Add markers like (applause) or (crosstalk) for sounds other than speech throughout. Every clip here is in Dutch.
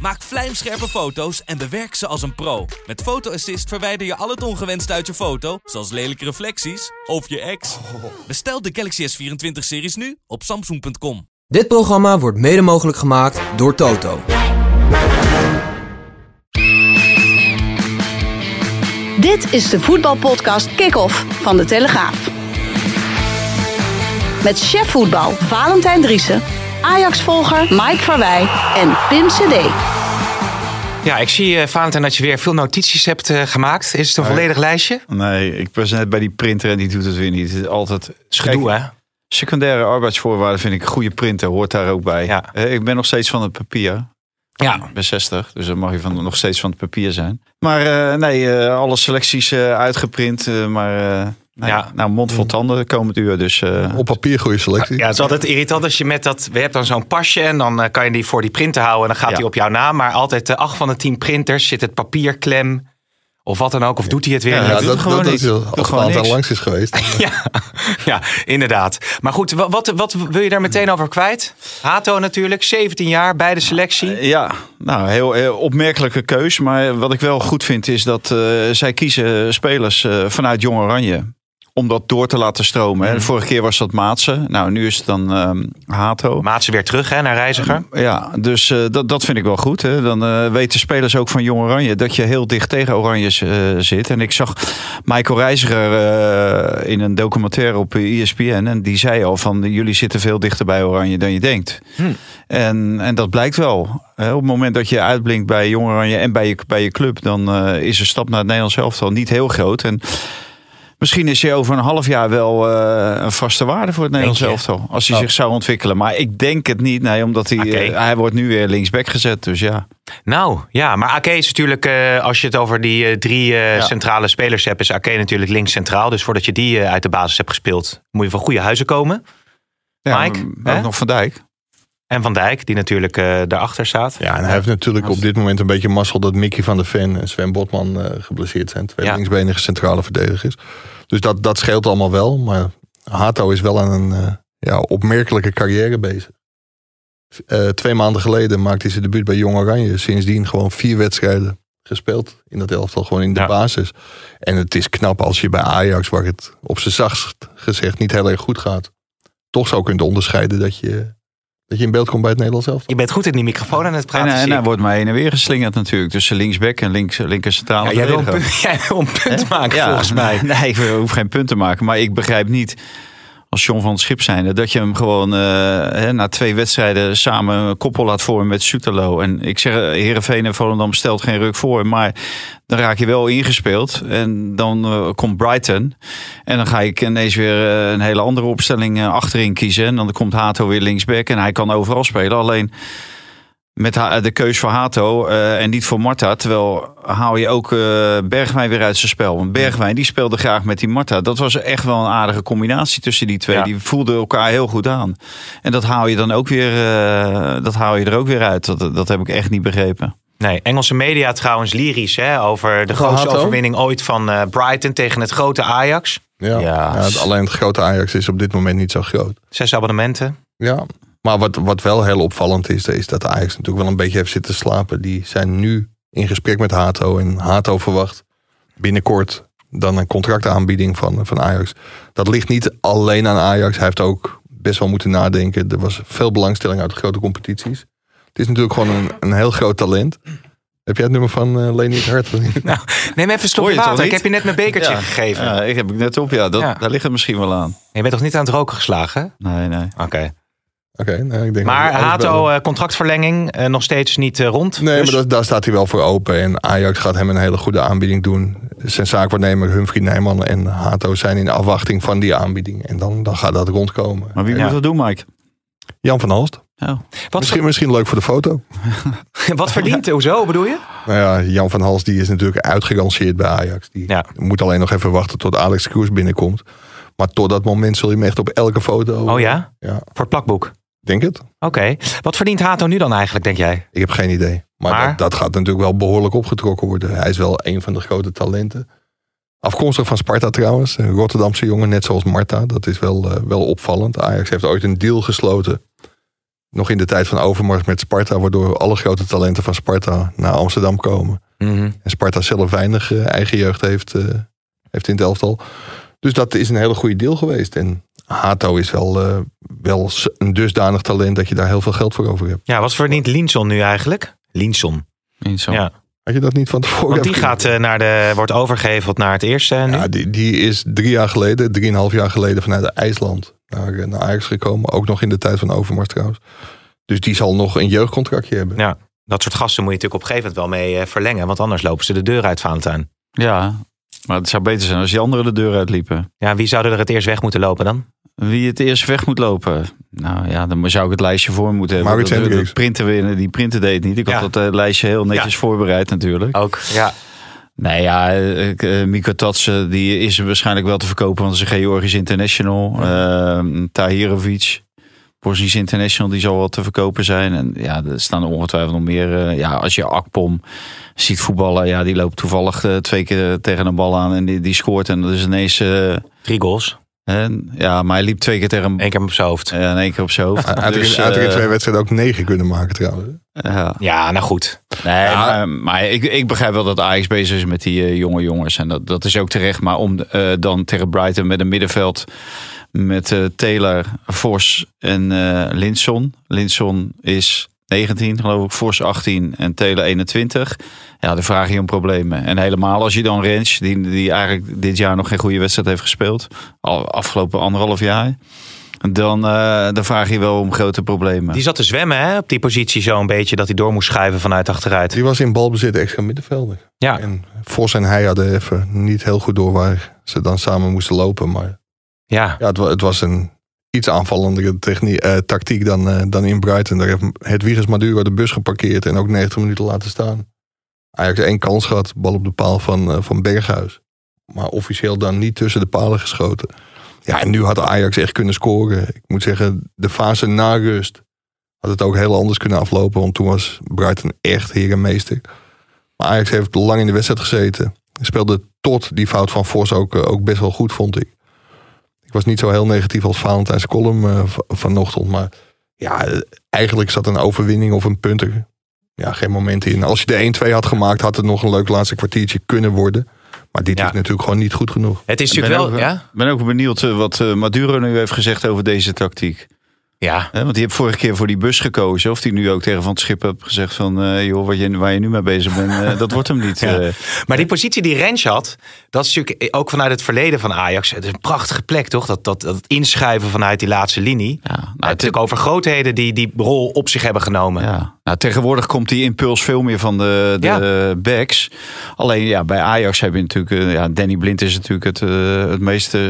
Maak vlijmscherpe foto's en bewerk ze als een pro. Met Photo Assist verwijder je al het ongewenst uit je foto, zoals lelijke reflecties of je ex. Bestel de Galaxy S24-series nu op Samsung.com. Dit programma wordt mede mogelijk gemaakt door Toto. Dit is de voetbalpodcast Kick-Off van De Telegraaf. Met chef voetbal Valentijn Driessen, Ajax-volger Mike Verwij en Pim CD. Ja, ik zie, eh Valentijn, dat je weer veel notities hebt eh, gemaakt. Is het een volledig lijstje? Nee, ik was net bij die printer en die doet het weer niet. Het is altijd Gedoe, hè? Kijk, Secundaire arbeidsvoorwaarden vind ik een goede printer, hoort daar ook bij. Ja. Eh, ik ben nog steeds van het papier. Ja. Ik ben 60, dus dan mag je van, nog steeds van het papier zijn. Maar eh, nee, eh, alle selecties eh, uitgeprint. eh, maar eh, nee, Ja. nou, mond vol tanden komend uur. Dus eh, Op papier goede selectie. Ja, het is altijd irritant als je met dat... We hebben dan zo'n pasje en dan eh, kan je die voor die printer houden. En dan gaat Ja. die op jouw naam. Maar altijd de acht van de tien printers zit het papier klem. Of wat dan ook. Of doet hij het weer? Ja, En dat dat- doet gewoon dat, niet. is wel- Doet Als gewoon Valentijn niks. langs is geweest. (laughs) Ja, ja, inderdaad. Maar goed, wa- wat, wat wil je daar meteen over kwijt? Hato natuurlijk, 17 jaar, bij de selectie. Ja, nou, heel, heel opmerkelijke keus. Maar wat ik wel goed vind is dat eh, zij kiezen spelers eh, vanuit Jong Oranje. Om dat door te laten stromen. hè. De vorige keer was dat Maatsen. Nou, nu is het dan ehm, Hato. Maat ze weer terug hè, naar Reiziger. Ja, dus eh, dat, dat vind ik wel goed. Hè. Dan eh, weten spelers ook van Jong Oranje dat je heel dicht tegen Oranjes eh, zit. En ik zag Michael Reiziger eh, in een documentaire op E ESPN. En die zei al van jullie zitten veel dichter bij Oranje dan je denkt. En, en dat blijkt wel. hè. Op het moment dat je uitblinkt bij Jong Oranje en bij je, bij je club... dan eh, is een stap naar het Nederlands elftal niet heel groot. En misschien is hij over een half jaar wel eh, een vaste waarde voor het Nederlands je? Oh. elftal. Als hij zich zou ontwikkelen. Maar ik denk het niet. Nee, omdat hij, Oké. eh, hij wordt nu weer linksback gezet. Dus ja. Nou, ja, maar Ake is natuurlijk, eh, als je het over die eh, drie eh, Ja. centrale spelers hebt, is Ake natuurlijk links centraal. Dus voordat je die eh, uit de basis hebt gespeeld, moet je van goede huizen komen. ja Mike, maar hè? ook nog Van Dijk. En Van Dijk, die natuurlijk eh, daarachter staat. (laughs) Ja, en hij heeft natuurlijk op dit moment een beetje mazzel dat Mickey van der Ven en Sven Botman eh, geblesseerd zijn. Twee Ja. linksbenige centrale verdedigers. Dus dat, dat scheelt allemaal wel. Maar Hato is wel aan een eh, ja, opmerkelijke carrière bezig. Eh, twee maanden geleden maakte hij zijn debuut bij Jong Oranje. Sindsdien gewoon vier wedstrijden gespeeld in dat elftal, gewoon in de Ja. basis. En het is knap als je bij Ajax, waar het op zijn zachtst gezegd niet heel erg goed gaat, toch zou kunt onderscheiden dat je, dat je in beeld komt bij het Nederlands elftal. Je bent goed in die microfoon aan het En, praten. eh, en zie hij ik. wordt maar heen en weer geslingerd natuurlijk. Tussen linksback en links, linker centrale ja, jij, wil een punt, verdediger. (laughs) jij wil een punt Hè? maken, Ja, volgens mij. (laughs) Nee, ik hoef geen punt te maken. Maar ik begrijp niet, als John van het Schip zijnde, dat je hem gewoon eh, hè, na twee wedstrijden samen een koppel laat vormen met Soetelo. En ik zeg, eh, Heerenveen en Volendam stelt geen ruk voor. Maar dan raak je wel ingespeeld. En dan eh, komt Brighton. En dan ga ik ineens weer eh, een hele andere opstelling eh, achterin kiezen. En dan komt Hato weer linksback. En hij kan overal spelen. Alleen met ha- de keus voor Hato eh, en niet voor Marta. Terwijl haal je ook eh, Bergwijn weer uit zijn spel. Want Bergwijn die speelde graag met die Marta. Dat was echt wel een aardige combinatie tussen die twee. Ja. Die voelden elkaar heel goed aan. En dat haal je dan ook weer. eh, dat haal je er ook weer uit. Dat, dat heb ik echt niet begrepen. Nee, Engelse media trouwens lyrisch hè, over de Over grootste Hato? overwinning ooit van eh, Brighton tegen het grote Ajax. Ja. Ja. Ja, het- alleen het grote Ajax is op dit moment niet zo groot. Zes abonnementen. Ja. Maar wat, wat wel heel opvallend is, is dat Ajax natuurlijk wel een beetje heeft zitten slapen. Die zijn nu in gesprek met Hato. En Hato verwacht binnenkort dan een contractaanbieding van, van Ajax. Dat ligt niet alleen aan Ajax. Hij heeft ook best wel moeten nadenken. Er was veel belangstelling uit de grote competities. Het is natuurlijk gewoon een, een heel groot talent. Heb jij het nummer van eh Leni het Hart? Nou, neem even een Hoor stopje je het al water. Ik niet? heb je net mijn bekertje Ja. gegeven. Ja, ik heb ik net op. Ja, dat, Ja. daar ligt het misschien wel aan. Je bent toch niet aan het roken geslagen? hè? Nee, nee. Oké. (laughs) Oké, nou, ik denk Maar dat- Hato, eh, contractverlenging eh, nog steeds niet eh, rond. Nee, Dus- maar dat, daar staat hij wel voor open. En Ajax gaat hem een hele goede aanbieding doen. Zijn zaakwaarnemer Humphrey Nijman en Hato zijn in afwachting van die aanbieding. En dan, dan gaat dat rondkomen. Maar wie En moet dat doen, Mike? Jan van Halst. Oh. wat, Misschien, misschien leuk voor de foto. ver- (laughs) wat (laughs) verdient? Hoezo bedoel je? Nou ja, Jan van Hals die is natuurlijk uitgeranceerd bij Ajax. Die Ja. moet alleen nog even wachten tot Alex Kroes binnenkomt. Maar tot dat moment zul je hem echt op elke foto... Oh ja? Ja, Voor het plakboek. denk het. Oké. Wat verdient Hato nu dan eigenlijk, denk jij? Ik heb geen idee. Maar, Maar? Dat, dat gaat natuurlijk wel behoorlijk opgetrokken worden. Hij is wel een van de grote talenten. Afkomstig van Sparta trouwens. Een Rotterdamse jongen, net zoals Marta. Dat is wel, eh, wel opvallend. Ajax heeft ooit een deal gesloten. Nog in de tijd van Overmars met Sparta. Waardoor alle grote talenten van Sparta naar Amsterdam komen. En Sparta zelf weinig eh, eigen jeugd heeft, eh, heeft in het elftal. Dus dat is een hele goede deal geweest. En Hato is wel, eh, wel s- een dusdanig talent dat je daar heel veel geld voor over hebt. Ja, wat verdient Linson nu eigenlijk? Linson. Niet zo. Ja. Had je Oh, dat niet van tevoren? Want die even- gaat eh, naar de, wordt overgeheveld naar het eerste. eh, nu. Ja, die, die is drie jaar geleden, drieënhalf jaar geleden vanuit IJsland naar, eh, naar Ajax gekomen. Ook nog in de tijd van Overmars trouwens. Dus die zal nog een jeugdcontractje hebben. Ja, dat soort gasten moet je natuurlijk op een gegeven moment wel mee eh, verlengen. Want anders lopen ze de deur uit, Valentijn. Ja, maar het zou beter zijn als die anderen de deur uitliepen. Ja, wie zouden er het eerst weg moeten lopen dan? Wie het eerst weg moet lopen? Nou ja, dan zou ik het lijstje voor moeten hebben. Maurits dat, dat Hendricks. printen we, die printen deed niet. Ik Ja. had dat eh, lijstje heel netjes voorbereid Oh. natuurlijk. Ook. Ja. Nee ja, eh, ik, eh, Mika Tatsen die is waarschijnlijk wel te verkopen, want ze is een Georgisch international. Ehm Tahirovic, Bosnisch international, die zal wel te verkopen zijn. En ja, er staan er ongetwijfeld nog meer. eh, ja, als je Akpom ziet voetballen, ja, die loopt toevallig eh, twee keer tegen een bal aan en die, die scoort. En dat is ineens... eh, Drie goals. hè, ja, maar hij liep twee keer tegen een Eén keer op zijn hoofd. ja, in één keer op zijn hoofd. Uit Dus, uit eh, twee wedstrijden ook negen kunnen maken trouwens. ja. Ja, nou goed. Nee, maar, maar ik, ik begrijp wel dat Ajax bezig is met die eh, jonge jongens. En dat, dat is ook terecht. Maar om eh, dan tegen Brighton met een middenveld met eh Taylor, Vos en eh Linson. Linson is 19 geloof ik, Vos 18 en Taylor 21. Ja, dan vraag je om problemen. En helemaal als je dan Rens, die, die eigenlijk dit jaar nog geen goede wedstrijd heeft gespeeld. Al afgelopen anderhalf jaar. Dan, eh, dan vraag je wel om grote problemen. Die zat te zwemmen hè, op die positie zo een beetje. Dat hij door moest schuiven vanuit achteruit. Die was in balbezit extra middenvelder. Ja. En Vos en hij hadden even niet heel goed door waar ze dan samen moesten lopen. Maar Ja. ja, het, wa- het was een iets aanvallendere technie- eh, tactiek dan, eh, dan in Brighton. Daar heeft Hedwiges Maduro de bus geparkeerd en ook 90 minuten laten staan. Ajax één kans gehad, bal op de paal van, eh, van Berghuis. Maar officieel dan niet tussen de palen geschoten. Ja, en nu had Ajax echt kunnen scoren. Ik moet zeggen, de fase na rust had het ook heel anders kunnen aflopen. Want toen was Brighton echt heer en meester. Maar Ajax heeft lang in de wedstrijd gezeten. Speelde tot die fout van Vos ook, eh, ook best wel goed, vond ik. Ik was niet zo heel negatief als Valentijn's column eh, va- vanochtend. Maar ja, eh, eigenlijk zat een overwinning of een punt er ja, geen moment in. Als je de 1-2 had gemaakt, had het nog een leuk laatste kwartiertje kunnen worden. Maar dit Ja. is natuurlijk gewoon niet goed genoeg. Het is Ik ben natuurlijk wel... Ja? ook- Ik ben ook benieuwd eh, wat eh, Maduro nu heeft gezegd over deze tactiek. Ja. Hè, want die heeft vorige keer voor die bus gekozen. Of die nu ook tegen Van het Schip hebt gezegd van... eh, joh, wat je, waar je nu mee bezig bent, eh, dat wordt hem niet. Ja. eh. Maar die positie die Rens had, dat is natuurlijk e- ook vanuit het verleden van Ajax. Het is een prachtige plek, toch? Dat, dat, dat inschuiven vanuit die laatste linie. Ja, nou, Maar het is natuurlijk over grootheden die die rol op zich hebben genomen. Ja. Nou, tegenwoordig komt die impuls veel meer van de, de backs. Alleen ja, bij Ajax heb je natuurlijk... eh, ja, Danny Blind is natuurlijk het, eh, het meest eh,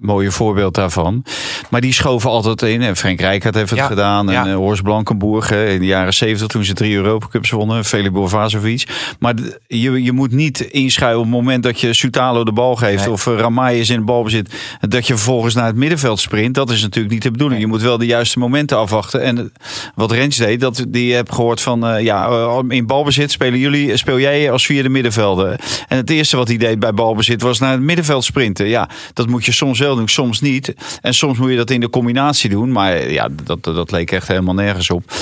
mooie voorbeeld daarvan. Maar die schoven altijd in. En Frank Rijkaard heeft het Ja, gedaan. En ja. eh, Horst Blankenburg hè, in de jaren 70 toen ze drie Europacups wonnen. Feli Bovazovic. Maar d- je, je moet niet inschuiven op het moment dat je Sutalo de bal geeft... of eh, Ramai is in de balbezit... dat je vervolgens naar het middenveld sprint. Dat is natuurlijk niet de bedoeling. Je moet wel de juiste momenten afwachten. En eh, wat Rens deed, dat, die heb gehoord van... eh, ja, eh, in balbezit spelen jullie, eh, speel jij als vierde middenvelder. En het eerste wat hij deed bij balbezit was naar het middenveld sprinten. Ja, dat moet je soms wel doen, soms niet. En soms moet je dat in de combinatie doen. Maar eh, ja, dat, dat- dat leek echt helemaal nergens op.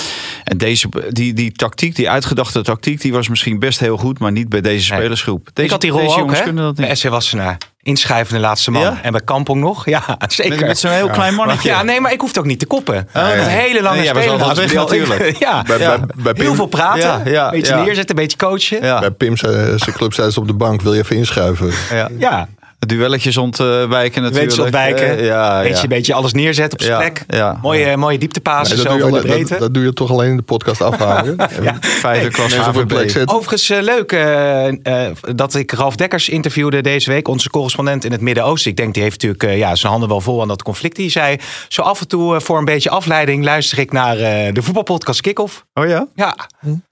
En deze, die, die tactiek, die uitgedachte tactiek, die was misschien best heel goed, maar niet bij deze Nee. spelersgroep. Deze, ik had die rol deze ook, jongens hè? kunnen dat niet. Bij SC Wassenaar. Inschuivende laatste man. Ja? En bij Kampong nog. Ja, zeker. Met, met zo'n heel klein mannetje. Ja, nee, maar ik hoef het ook niet te koppen. ja. Dat hele lange Nee, jij was spelen altijd als weg, beeld. natuurlijk. ja, Bij- Ja. bij- bij heel Pim- veel praten. Ja, ja, beetje ja. neerzetten, een beetje coachen. Ja. Ja. Bij Pim zijn zijn club zei ze op de bank, wil je even inschuiven? Ja. Duelletjes ontwijken natuurlijk. Beetje ontwijken. Eh, ja, beetje, ja. beetje alles neerzetten op zijn Ja, plek. ja. mooie, mooie dieptepases Nee, dat, over doe je de alleen- breedte. dat, dat doe je toch alleen in de podcast (laughs) afhalen? ja. Vijfde klas Mensen op hun HVB. plek zetten. Overigens eh, leuk eh, eh, dat ik Ralf Dekkers interviewde deze week. Onze correspondent in het Midden-Oosten. Ik denk die heeft natuurlijk eh, ja, zijn handen wel vol aan dat conflict. Die zei zo af en toe eh, voor een beetje afleiding luister ik naar eh, de voetbalpodcast Kick-Off. Oh ja? Ja,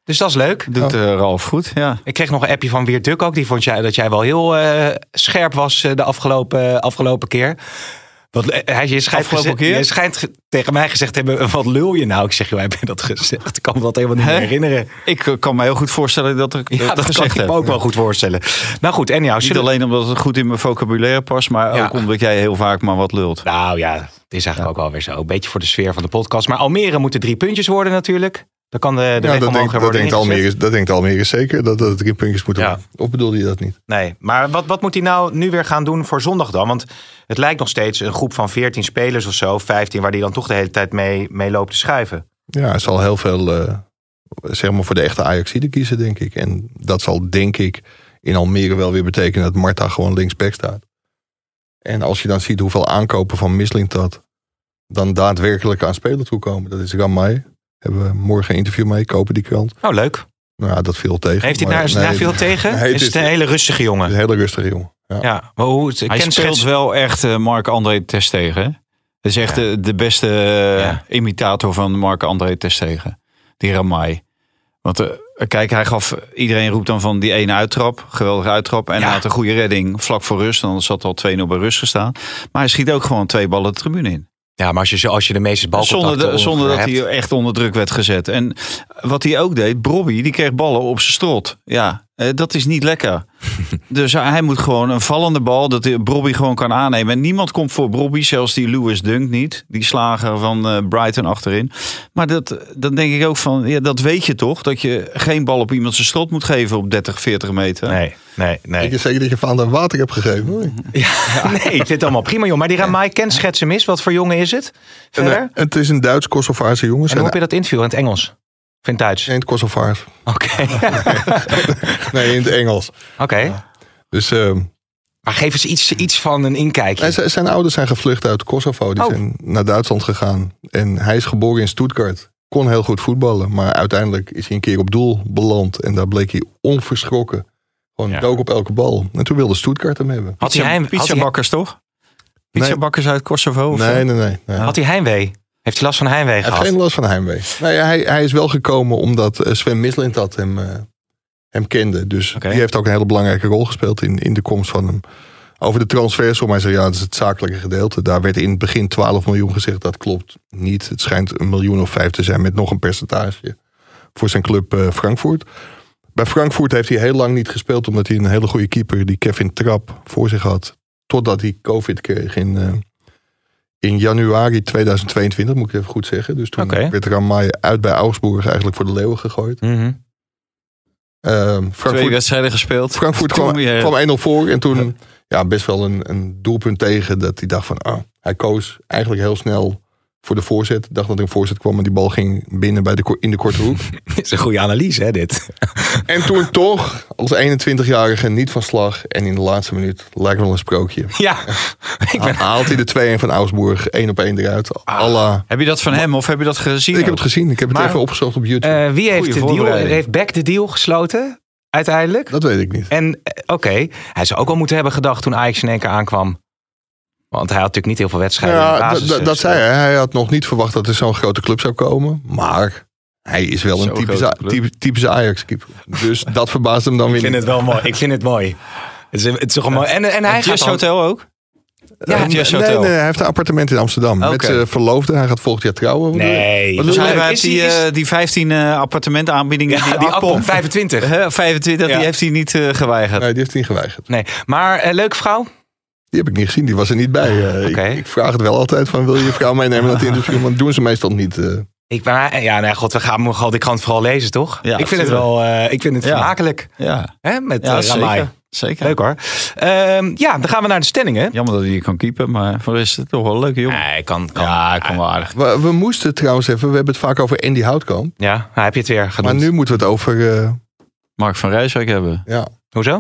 dus dat is leuk. Doet eh, Ralf goed, ja. Ik kreeg nog een appje van Weer Duk ook. Die vond jij, dat jij wel heel eh, scherp was eh, de afgelopen, afgelopen eh, keer. Wat, eh, hij, je schijnt, Afgelopen gezegd- keer? je schijnt ge- tegen mij gezegd te hebben, wat lul je nou? Ik zeg, joh, heb je dat gezegd? Ik kan me dat helemaal niet Hè? meer herinneren. Ik eh, kan me heel goed voorstellen dat ik Ja, dat, dat kan gezegd ik heb. me ook wel goed voorstellen. Nou goed, en jou, Niet alleen omdat het goed in mijn vocabulaire past, maar Ja. ook omdat jij heel vaak maar wat lult. Nou ja, het is eigenlijk ook alweer zo. Een beetje voor de sfeer van de podcast. Maar Almere moeten drie puntjes worden natuurlijk. Dan kan de, de Ja, weg dat, omhoog denkt, er dat, worden denkt ingezet. Almere, dat denkt Almere zeker, dat dat het drie puntjes moeten Ja. worden. Of bedoelde je dat niet? Nee, maar wat, wat moet hij nou nu weer gaan doen voor zondag dan? Want het lijkt nog steeds een groep van 14 spelers of zo, 15, waar hij dan toch de hele tijd mee, mee loopt te schuiven. Ja, hij zal heel veel eh, zeg maar voor de echte Ajaxide kiezen, denk ik. En dat zal denk ik in Almere wel weer betekenen dat Marta gewoon linksback staat. En als je dan ziet hoeveel aankopen van Mislintat dan daadwerkelijk aan spelen toekomen. Dat is Ramai. Hebben we morgen een interview mee, kopen die krant. Oh, Nou, leuk. Nou, ja, dat viel tegen. Heeft hij maar daar, is hij nee, daar veel (laughs) tegen? nee, het is is- het een hele rustige jongen? Een hele rustige jongen. Ja. Ja, maar hoe, het, Hij ken speelt schets- wel echt eh, Mark-André Terstegen. hè? Dat is echt Ja. de, de beste eh, Ja. imitator van Mark-André Terstegen. Die Ramai. Want eh, kijk, hij gaf, iedereen roept dan van die ene uittrap, geweldige uittrap. En Ja. hij had een goede redding vlak voor rust. Dan zat al 2-0 bij rust gestaan. Maar hij schiet ook gewoon twee ballen de tribune in. Ja, maar als je, zo- als je de meeste balcontacten Zonder, de- zonder dat hebt- hij echt onder druk werd gezet. En wat hij ook deed, Bobby, die kreeg ballen op zijn strot. Ja, eh, dat is niet lekker. (laughs) dus hij moet gewoon een vallende bal, dat hij- Bobby gewoon kan aannemen. En niemand komt voor Bobby, zelfs die Lewis Dunk niet. Die slager van eh, Brighton achterin. Maar dat, dan denk ik ook van, ja, dat weet je toch? Dat je geen bal op iemand zijn strot moet geven op 30, 40 meter. Nee, nee, nee. Ik weet zeker dat je van de water hebt gegeven. hoor. (laughs) Nee, het zit allemaal prima, joh. Maar die Ramai kent schetsen mis. Wat voor jongen is het? Verder? En, eh, het is een Duits Kosovaarse jongen. en hoe heb je Zijn dat interview in het Engels? Of in het Duits? in het Kosovaars. Oké. (laughs) Nee, in het Engels. (laughs) Oké. Dus ehm, Maar geef eens iets, iets van een inkijkje. Nee, z- zijn ouders zijn gevlucht uit Kosovo. Die Oh. zijn naar Duitsland gegaan. En hij is geboren in Stuttgart. Kon heel goed voetballen. Maar uiteindelijk is hij een keer op doel beland. En daar bleek hij onverschrokken. Gewoon Ja. dook op elke bal. En toen wilde Stuttgart hem hebben. Had hij, Pizza, heim, had, hij, pizzabakkers toch? Pizzabakkers uit Kosovo? of- Nee, nee, nee. nee. had hij heimwee? Heeft hij last van heimwee Hij gehad? heeft geen last van heimwee. Nou ja, hij, hij is wel gekomen omdat eh, Sven Mislint dat hem, eh, hem kende. Dus Oké. die heeft ook een hele belangrijke rol gespeeld in, in de komst van hem. Over de transfersom, hij zei ja, dat is het zakelijke gedeelte. Daar werd in het begin 12 miljoen gezegd. Dat klopt niet. Het schijnt een miljoen of vijf te zijn met nog een percentage voor zijn club eh, Frankfurt. Bij Frankfurt heeft hij heel lang niet gespeeld omdat hij een hele goede keeper, die Kevin Trapp, voor zich had. Totdat hij COVID kreeg in, eh, in januari 2022, moet ik even goed zeggen. Dus toen Oké. werd Ramai uit bij Augsburg eigenlijk voor de leeuwen gegooid. Mhm. Ehm, Twee Frankfurt, wedstrijden gespeeld. Frankfurt Toen kwam, je- kwam 1-0 voor en toen ja, best wel een, een doelpunt tegen dat hij dacht van, ah, hij koos eigenlijk heel snel voor de voorzet. Dacht dat er een voorzet kwam, maar die bal ging binnen bij de, ko- in de (laughs) korte hoek. is een goede analyse, hè, dit? (laughs) En toen toch, als 21-jarige, niet van slag. En in de laatste minuut, lijkt wel een sprookje. Ja. Ik ben... Ah. Haalt hij de 2-1 van Augsburg, één op één eruit. Allah. Heb je dat van hem of heb je dat gezien? Ik heb ook? het gezien, ik heb het Maar- even opgezocht op YouTube. Eh, wie heeft Goeie de deal? voorbereiding. Heeft Beck de deal gesloten? Uiteindelijk? dat weet ik niet. En eh, oké, hij zou ook al moeten hebben gedacht toen Ajax in één keer aankwam. Want hij had natuurlijk niet heel veel wedstrijden. in de Ja, basis, dat- dat- dus, dat zei eh, hij. Hij had nog niet verwacht dat er zo'n grote club zou komen. Maar hij is wel Zo'n een typische, grote club. type- typische Ajax-keeper. (laughs) Dus dat verbaast hem dan weer Ik vind niet. het wel mooi. Ik vind het mooi. Het is, het is toch een mooi. En, en hij gaat Jazz dan- Hotel ook? Ja, het Jazz nee, Hotel. nee, hij heeft een appartement in Amsterdam. Met Oké. zijn verloofde. Hij gaat volgend jaar trouwen. Wat bedoel je? Nee. Wat Dus wil hij je? heeft Is die, hij- is- eh, die 15 eh appartementenaanbiedingen. Ja, die die appel appel. (laughs) 25. (laughs) Hè, 25, Ja. die heeft hij niet eh, geweigerd. Nee, die heeft hij niet geweigerd. Nee. Maar eh, leuke vrouw? Die heb ik niet gezien, die was er niet bij. Eh, ik- Oké. ik, vraag het wel altijd van, wil je je vrouw meenemen naar het interview? Want doen ze meestal niet. eh. Ik, maar, ja, nee, god, we gaan hem gewoon, ik kan het vooral lezen, toch? Ja, ik vind het tuurlijk. wel, eh, ik vind het Ja. vermakelijk. Ja, Hè, met ja eh, Ramai. zeker. zeker. Leuk hoor. Ehm, ja, dan gaan we naar de stellingen. Jammer dat hij hier kan keepen, maar voor de rest is het toch wel een leuke jongen. Nee, kan, kan. Ja. Ja, ik kom wel aardig. we, we moesten trouwens even, we hebben het vaak over Andy Houtkamp. nou, heb je het weer Maar genoemd. nu moeten we het over, eh, Mark van Rijswijk hebben. ja. Hoezo?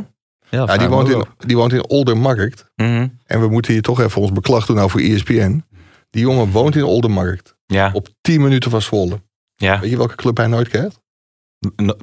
Ja, ja vraag die, me woont ook in, op. die woont in Oldermarkt. Mhm. En we moeten hier toch even ons beklag doen over E ESPN. Die jongen woont in Oldermarkt. Ja, Op 10 minuten van Zwolle. ja. Weet je welke club hij nooit kent?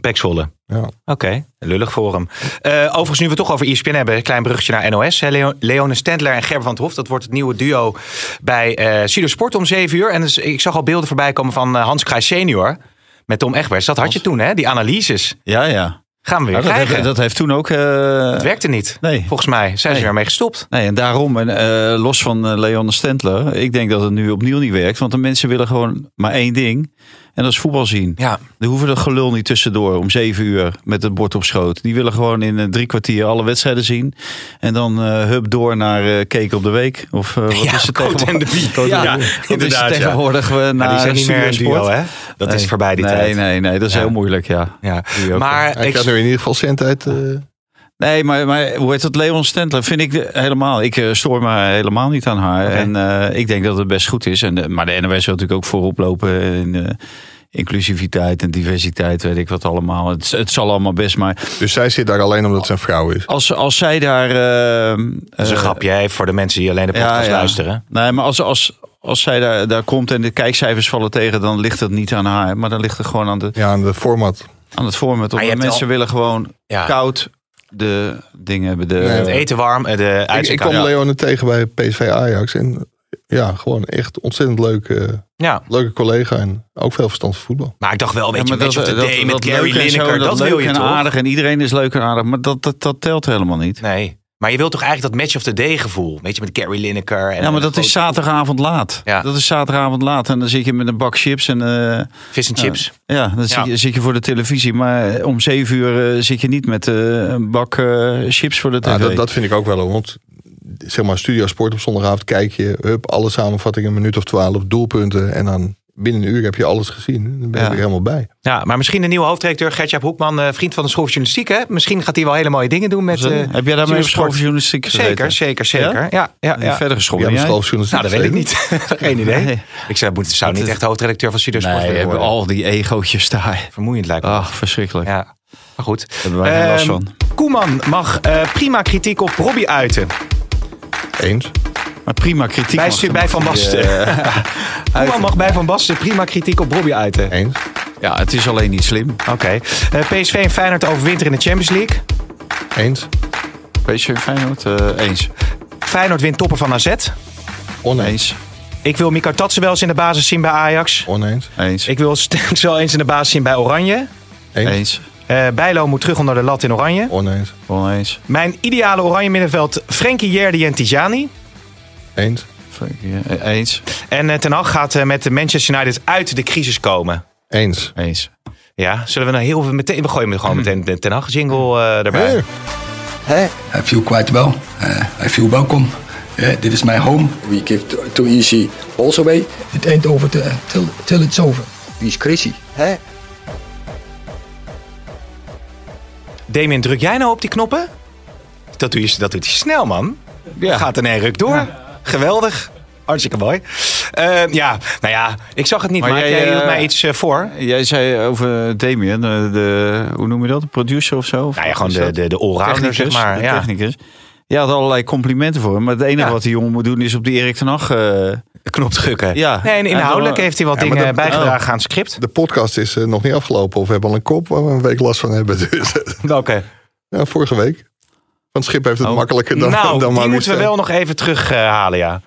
Pekswolle. Ja. Oké, lullig voor hem. Eh, overigens, nu we het toch over ESPN hebben, een klein bruggetje naar NOS. Hè. Leo, Leone Stendler en Gerben van het Hof, dat wordt het nieuwe duo bij eh Sido Sport om 7 uur. En dus, ik zag al beelden voorbij komen van eh, Hans Kraaij senior met Tom Egberts. Dat had je toen, hè? Die analyses. Ja, ja. Gaan we weer dat, krijgen. heeft, dat heeft toen ook... eh, Het werkte niet. Nee. Volgens mij zijn ze Nee. ermee gestopt. Nee, en daarom, en, eh, los van eh, Leon Stentler, ik denk dat het nu opnieuw niet werkt. Want de mensen willen gewoon maar één ding. En dat is voetbal zien. Ja. Er hoeven dat gelul niet tussendoor om zeven uur met het bord op schoot. Die willen gewoon in eh, drie kwartier alle wedstrijden zien. En dan eh hup door naar eh Keken op de Week. Of eh, wat (laughs) Ja, is het Coat tegenwoordig? and the Bee. Coat Ja, and the Bee. wat is Inderdaad, ja. het tegenwoordig eh, naar Maar die zijn niet Stuur meer en Nou, een duo, Sport? hè? Dat is Nee. voorbij die nee, tijd. Nee, nee, dat is Ja. heel moeilijk, ja. Ja. Die ook. eh, Maar Hij ik, krijgt nu in ieder geval cent uit. eh, Nee, maar, maar hoe heet dat? Leon Stentler vind ik de- helemaal. Ik eh, stoor me helemaal niet aan haar. Oké. En eh, ik denk dat het best goed is. En, de- maar de NOS wil natuurlijk ook voorop lopen in eh, inclusiviteit en diversiteit, weet ik wat allemaal. Het, het zal allemaal best, maar dus zij zit daar alleen omdat ze een vrouw is. als, als zij daar... eh, dat is een eh, grapje hè, voor de mensen die alleen de podcast luisteren. Nee, maar als, als, als zij daar, daar komt en de kijkcijfers vallen tegen, dan ligt het niet aan haar. Maar dan ligt het gewoon aan, de, Ja, en de format. aan het format. Maar je Omdat hebt mensen wel- willen gewoon Ja. koud de dingen hebben. De, Nee, Het eten warm, eh, de Ik, ik uitzendkamer. kwam Leone tegen bij PSV Ajax. En ja, gewoon echt ontzettend leuk, eh, Ja. leuke collega. En ook veel verstand van voetbal. Maar ik dacht wel, weet Ja, je, maar Match of the Day met dat Gary leuk en zo, Lineker, dat, leuk wil je en toch? aardig en iedereen is leuk en aardig, maar dat, dat, dat telt helemaal niet. Nee. Maar je wilt toch eigenlijk dat Match of the Day gevoel? Weet je, met Gary Lineker. En Ja, Nou, maar dat is zaterdagavond laat. Ja. Dat is zaterdagavond laat en dan zit je met een bak chips en eh, Vis en chips. ja, dan Ja. Zit, je, zit je voor de televisie. Maar om zeven uur eh, zit je niet met eh, een bak eh, chips voor de tv. Ja, Ah, Nou, dat, dat vind ik ook wel. Want zeg maar, Studio Sport op zondagavond kijk je hup, alle samenvattingen, een minuut of twaalf, doelpunten. En dan binnen een uur heb je alles gezien. Dan ben je Ja. er helemaal bij. Ja, maar misschien de nieuwe hoofdredacteur Gertjaap Hoekman, eh, vriend van de School van Journalistiek. Hè? Misschien gaat hij wel hele mooie dingen doen met... Dus, eh, eh, heb jij daarmee op Studio school Sport? voor journalistiek Zeker, gezeten? zeker, zeker. Ja, Ja? ja, ja, Nee, Verder geschopt Ja, ben de jij? schooljournalist. Nou, dat weet ik niet. (laughs) Geen idee. Nee. Ik zei, moet, zou niet echt hoofdredacteur van Studio Sport Nee, willen hebben worden. al die egootjes daar. Vermoeiend lijkt me. Ach, verschrikkelijk. Ja, maar goed. Hebben wij geen last Ehm, van. Koeman mag eh, prima kritiek op Robbie uiten. Eens. Maar prima kritiek. Bij, mag stu- er bij nog Van niet, Basten. eh, Koeman mag bij Van Basten prima kritiek op Robbie uiten. Eens. (laughs) Ja, het is alleen niet slim. Oké. Eh, PSV en Feyenoord overwinteren in de Champions League. Eens. PSV Feyenoord, eh, eens. Feyenoord wint toppen van AZ. Oneens. Eens, Ik wil Mika Tatsen wel eens in de basis zien bij Ajax. Oneens. eens, Ik wil (laughs) Stenks wel eens in de basis zien bij Oranje. Eens. eens, Eh Bijlo moet terug onder de lat in Oranje. Oneens. oneens. Mijn ideale Oranje middenveld Frenkie Jerdy en Tijani. Eens. Fuck, ja, eh, Eens, En eh, Ten Hag gaat eh, met de Manchester United uit de crisis komen. Eens. eens. Ja, zullen we nou heel veel meteen... We gooien hem gewoon meteen de Ten Hag jingle eh, erbij. Hey. Hey, I feel quite well. Uh, I feel welcome. Uh, this is my home. We give E too, too easy balls away. It ain't over till, till, till it's over. He's crazy. Damien, druk jij nou op die knoppen? Dat, doe je, dat doet hij snel, man. Gaat in één ruk door. Geweldig. Hartstikke mooi. Eh, ja, nou ja, ik zag het niet, maar, Maar jij, jij hield eh, mij iets eh, voor. Jij zei over Damien, eh, de, hoe noem je dat? De producer of zo? Of Nou ja, gewoon is de, dat? de, de allrounder, zeg Technicus, maar. de Ja. technicus. Je had allerlei complimenten voor hem. Maar het enige Ja. wat die jongen moet doen is op die Erik ten Hag... eh, Knop drukken. Ja. Nee, en inhoudelijk heeft hij wat Ja, maar dingen dat- Oh. bijgedragen aan het (laughs) script. De podcast is eh, nog niet afgelopen. Of we hebben al een kop waar we een week last van hebben. (laughs) Dus, eh, Welke? ja, vorige week. Want Schip heeft het Oh. makkelijker (laughs) dan, nou, dan die Maurice. moeten we wel nog even terughalen, ja.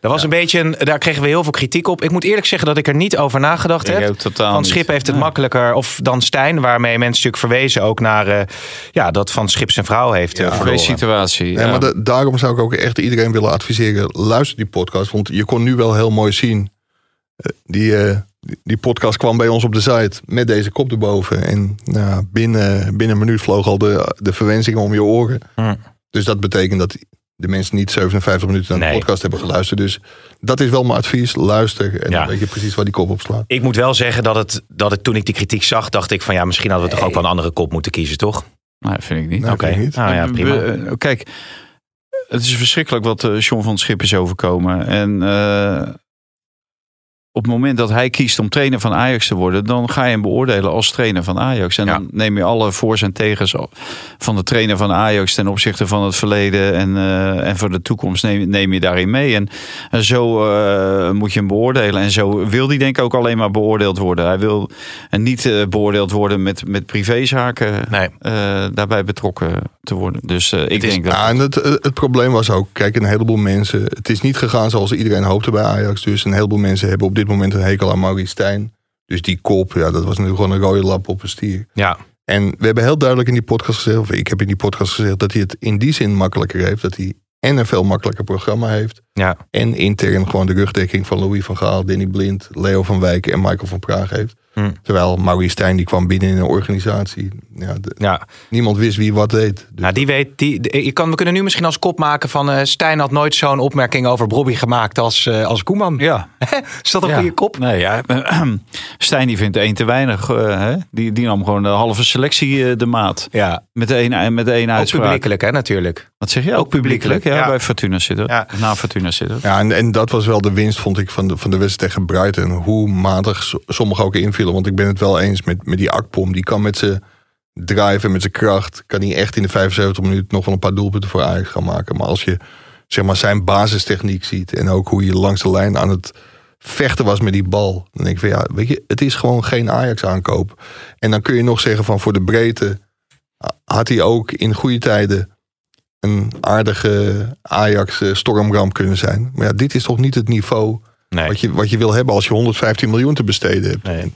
Dat was een beetje een, daar kregen we heel veel kritiek op. Ik moet eerlijk zeggen dat ik er niet over nagedacht Ik heb. ook totaal van niet. Schip heeft het Nee. makkelijker, of dan Stijn, waarmee mensen natuurlijk verwezen ook naar eh, ja, dat van Schip zijn vrouw heeft eh, Voor verloren. deze situatie. Nee, ja. maar da- daarom zou ik ook echt iedereen willen adviseren. Luister die podcast. Want je kon nu wel heel mooi zien. eh, Die, eh, die- die podcast kwam bij ons op de site. Met deze kop erboven. En nou, ja, binnen, binnen een minuut vloog al de, de verwensingen om je oren. Hmm. Dus dat betekent dat de mensen niet 57 minuten naar Nee. de podcast hebben geluisterd. Dus dat is wel mijn advies. Luister. En Ja. dan weet je precies waar die kop op slaat. Ik moet wel zeggen dat, het, dat ik, toen ik die kritiek zag, dacht ik van ja, misschien hadden we toch ook wel een andere kop moeten kiezen, toch? Nee, vind ik niet. Nou, Oké. vind ik niet. Nou ja, prima. We- eh, kijk, het is verschrikkelijk wat eh, John van het Schip is overkomen. En eh, op het moment dat hij kiest om trainer van Ajax te worden, dan ga je hem beoordelen als trainer van Ajax. En Ja. dan neem je alle voor's en tegens al- van de trainer van Ajax ten opzichte van het verleden en, eh, en voor de toekomst neem, neem je daarin mee. En, en zo eh, moet je hem beoordelen. En zo wil hij denk ik ook alleen maar beoordeeld worden. Hij wil en niet eh, beoordeeld worden met, met privézaken Nee. eh, daarbij betrokken te worden. Dus eh, ik denk dat... Ja, Nou, en het, eh, het probleem was ook, kijk, een heleboel mensen. Het is niet gegaan zoals iedereen hoopte bij Ajax. Dus een heleboel mensen hebben op dit moment een hekel aan Maurice Stijn. Dus die kop, ja, dat was nu gewoon een rode lap op een stier. Ja. En we hebben heel duidelijk in die podcast gezegd, of ik heb in die podcast gezegd, dat hij het in die zin makkelijker heeft. Dat hij en een veel makkelijker programma heeft. Ja. En intern gewoon de rugdekking van Louis van Gaal, Danny Blind, Leo van Wijk en Michael van Praag heeft. Hm. Terwijl Maurice Stijn die kwam binnen in een organisatie. Ja, de- Ja, niemand wist wie wat deed. Dus nou, die weet, die, die- je kan, we kunnen nu misschien als kop maken van eh, Stijn had nooit zo'n opmerking over Bobby gemaakt als, eh, als Koeman. Ja. (laughs) Is dat een ja. goede kop? Nee, ja. (clears throat) Stijn die vindt één te weinig. eh, hè? Die, die nam gewoon de halve selectie eh, de maat. Ja, Met de één, eh, met de één ook uitspraak. publiekelijk hè, natuurlijk. Wat zeg je? Ook publiekelijk. Ja, publiekelijk, ja. bij Fortuna zitten. Ja. Na Fortuna zitten. Ja, en, en dat was wel de winst, vond ik, van de, van de wedstrijd tegen Brighton. Hoe matig s- sommigen ook invielen. Want ik ben het wel eens met, met die Akpom. Die kan met zijn drive en met zijn kracht... kan hij echt in de 75 minuten nog wel een paar doelpunten voor Ajax gaan maken. Maar als je zeg maar, zijn basistechniek ziet... en ook hoe je langs de lijn aan het vechten was met die bal... dan denk ik van ja, weet je, het is gewoon geen Ajax-aankoop. En dan kun je nog zeggen van voor de breedte... ha- had hij ook in goede tijden een aardige Ajax-stormramp kunnen zijn. Maar ja, dit is toch niet het niveau Nee. wat, je, wat je wil hebben als je 115 miljoen te besteden hebt. En-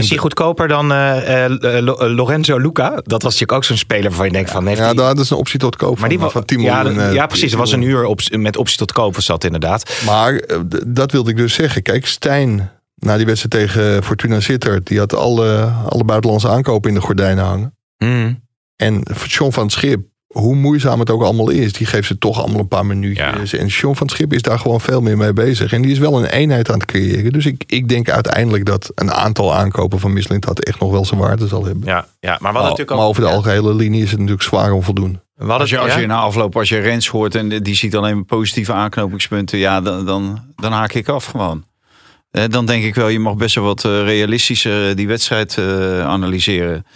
Is hij goedkoper dan eh, eh, Lo- eh, Lorenzo Luca? Dat was natuurlijk ook zo'n speler waarvan je denkt van... Heeft Ja, die- daar hadden ze een optie tot koop maar die van, wa- van 10 ja, miljoen. dat- eh, ja, precies. Er was een uur op, met optie tot koop was dat inderdaad. Maar eh, d- dat wilde ik dus zeggen. Kijk, Stijn, na die wedstrijd tegen Fortuna Sittard... die had alle, alle buitenlandse aankopen in de gordijnen hangen. Mm. En John van het Schip, hoe moeizaam het ook allemaal is... die geeft ze toch allemaal een paar minuutjes. En John van het Schip is daar gewoon veel meer mee bezig. En die is wel een eenheid aan het creëren. Dus ik, ik denk uiteindelijk dat een aantal aankopen van Misselint... dat echt nog wel zijn waarde zal hebben. Ja, ja, maar wat Maar, natuurlijk ook... maar over de algehele linie is het natuurlijk zwaar om voldoen. we hadden- Als je, als ja? je na afloop, als je Rens hoort en die ziet alleen positieve aanknopingspunten, ja, dan, dan, dan haak ik af gewoon. Eh, Dan denk ik wel, je mag best wel wat eh, realistischer eh, die wedstrijd eh, analyseren.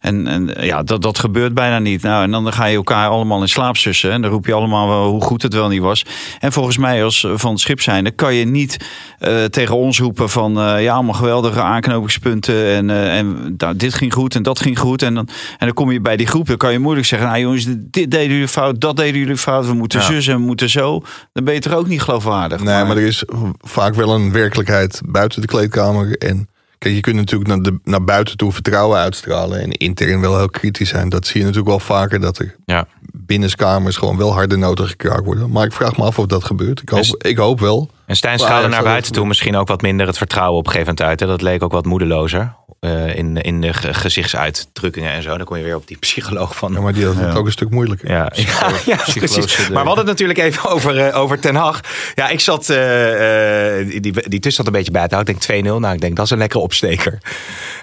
En, en eh, ja, dat, dat gebeurt bijna niet. Nou, en dan ga je elkaar allemaal in slaap sussen. En dan roep je allemaal wel hoe goed het wel niet was. En volgens mij, als eh, van het schip zijnde, kan je niet eh, tegen ons roepen van... eh, ja, allemaal geweldige aanknopingspunten. En, eh, en nou, dit ging goed en dat ging goed. En dan, en dan kom je bij die groep. Dan kan je moeilijk zeggen, nou jongens, dit dit deden jullie fout. Dat deden jullie fout. We moeten zus en we moeten zo. Dan ben je toch ook niet geloofwaardig. Nee, maar er is vaak wel een werkelijkheid buiten de kleedkamer. En kijk, je kunt natuurlijk naar, de, naar buiten toe vertrouwen uitstralen. En intern wel heel kritisch zijn. Dat zie je natuurlijk wel vaker. Dat er Ja. binnenkamers gewoon wel harde noten gekraakt worden. Maar ik vraag me af of dat gebeurt. Ik Dus- hoop, ik hoop wel. En Stijn Maar schaalde Ajax naar had buiten het- toe misschien ook wat minder het vertrouwen op een gegeven moment uit. Hè? Dat leek ook wat moedelozer eh, in, in de ge- gezichtsuitdrukkingen en zo. Dan kom je weer op die psycholoog van... Ja, maar die had het ook een stuk moeilijker. Ja, (laughs) ja, ja, precies. Maar we hadden het natuurlijk even (laughs) over, eh, over Ten Hag. Ja, ik zat eh, eh, die, die tussenstand een beetje bij te houden. Ik denk 2-0. Nou, ik denk dat is een lekkere opsteker.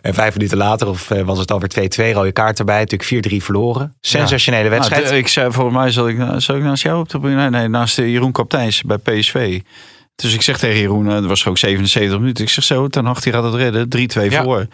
En vijf minuten later of, eh, was het alweer 2-2. Rode kaart erbij. Natuurlijk 4-3 verloren. Sensationele Nou, wedstrijd. de- ik zei, volgens mij zal ik, na- zal ik naast jou op de tribune. Nee, nee, naast eh, Jeroen Kapteins bij PSV. Dus ik zeg tegen Jeroen, eh, het was ook 77 minuten. Ik zeg zo, ten Hag die gaat het redden. 3-2 Ja. voor.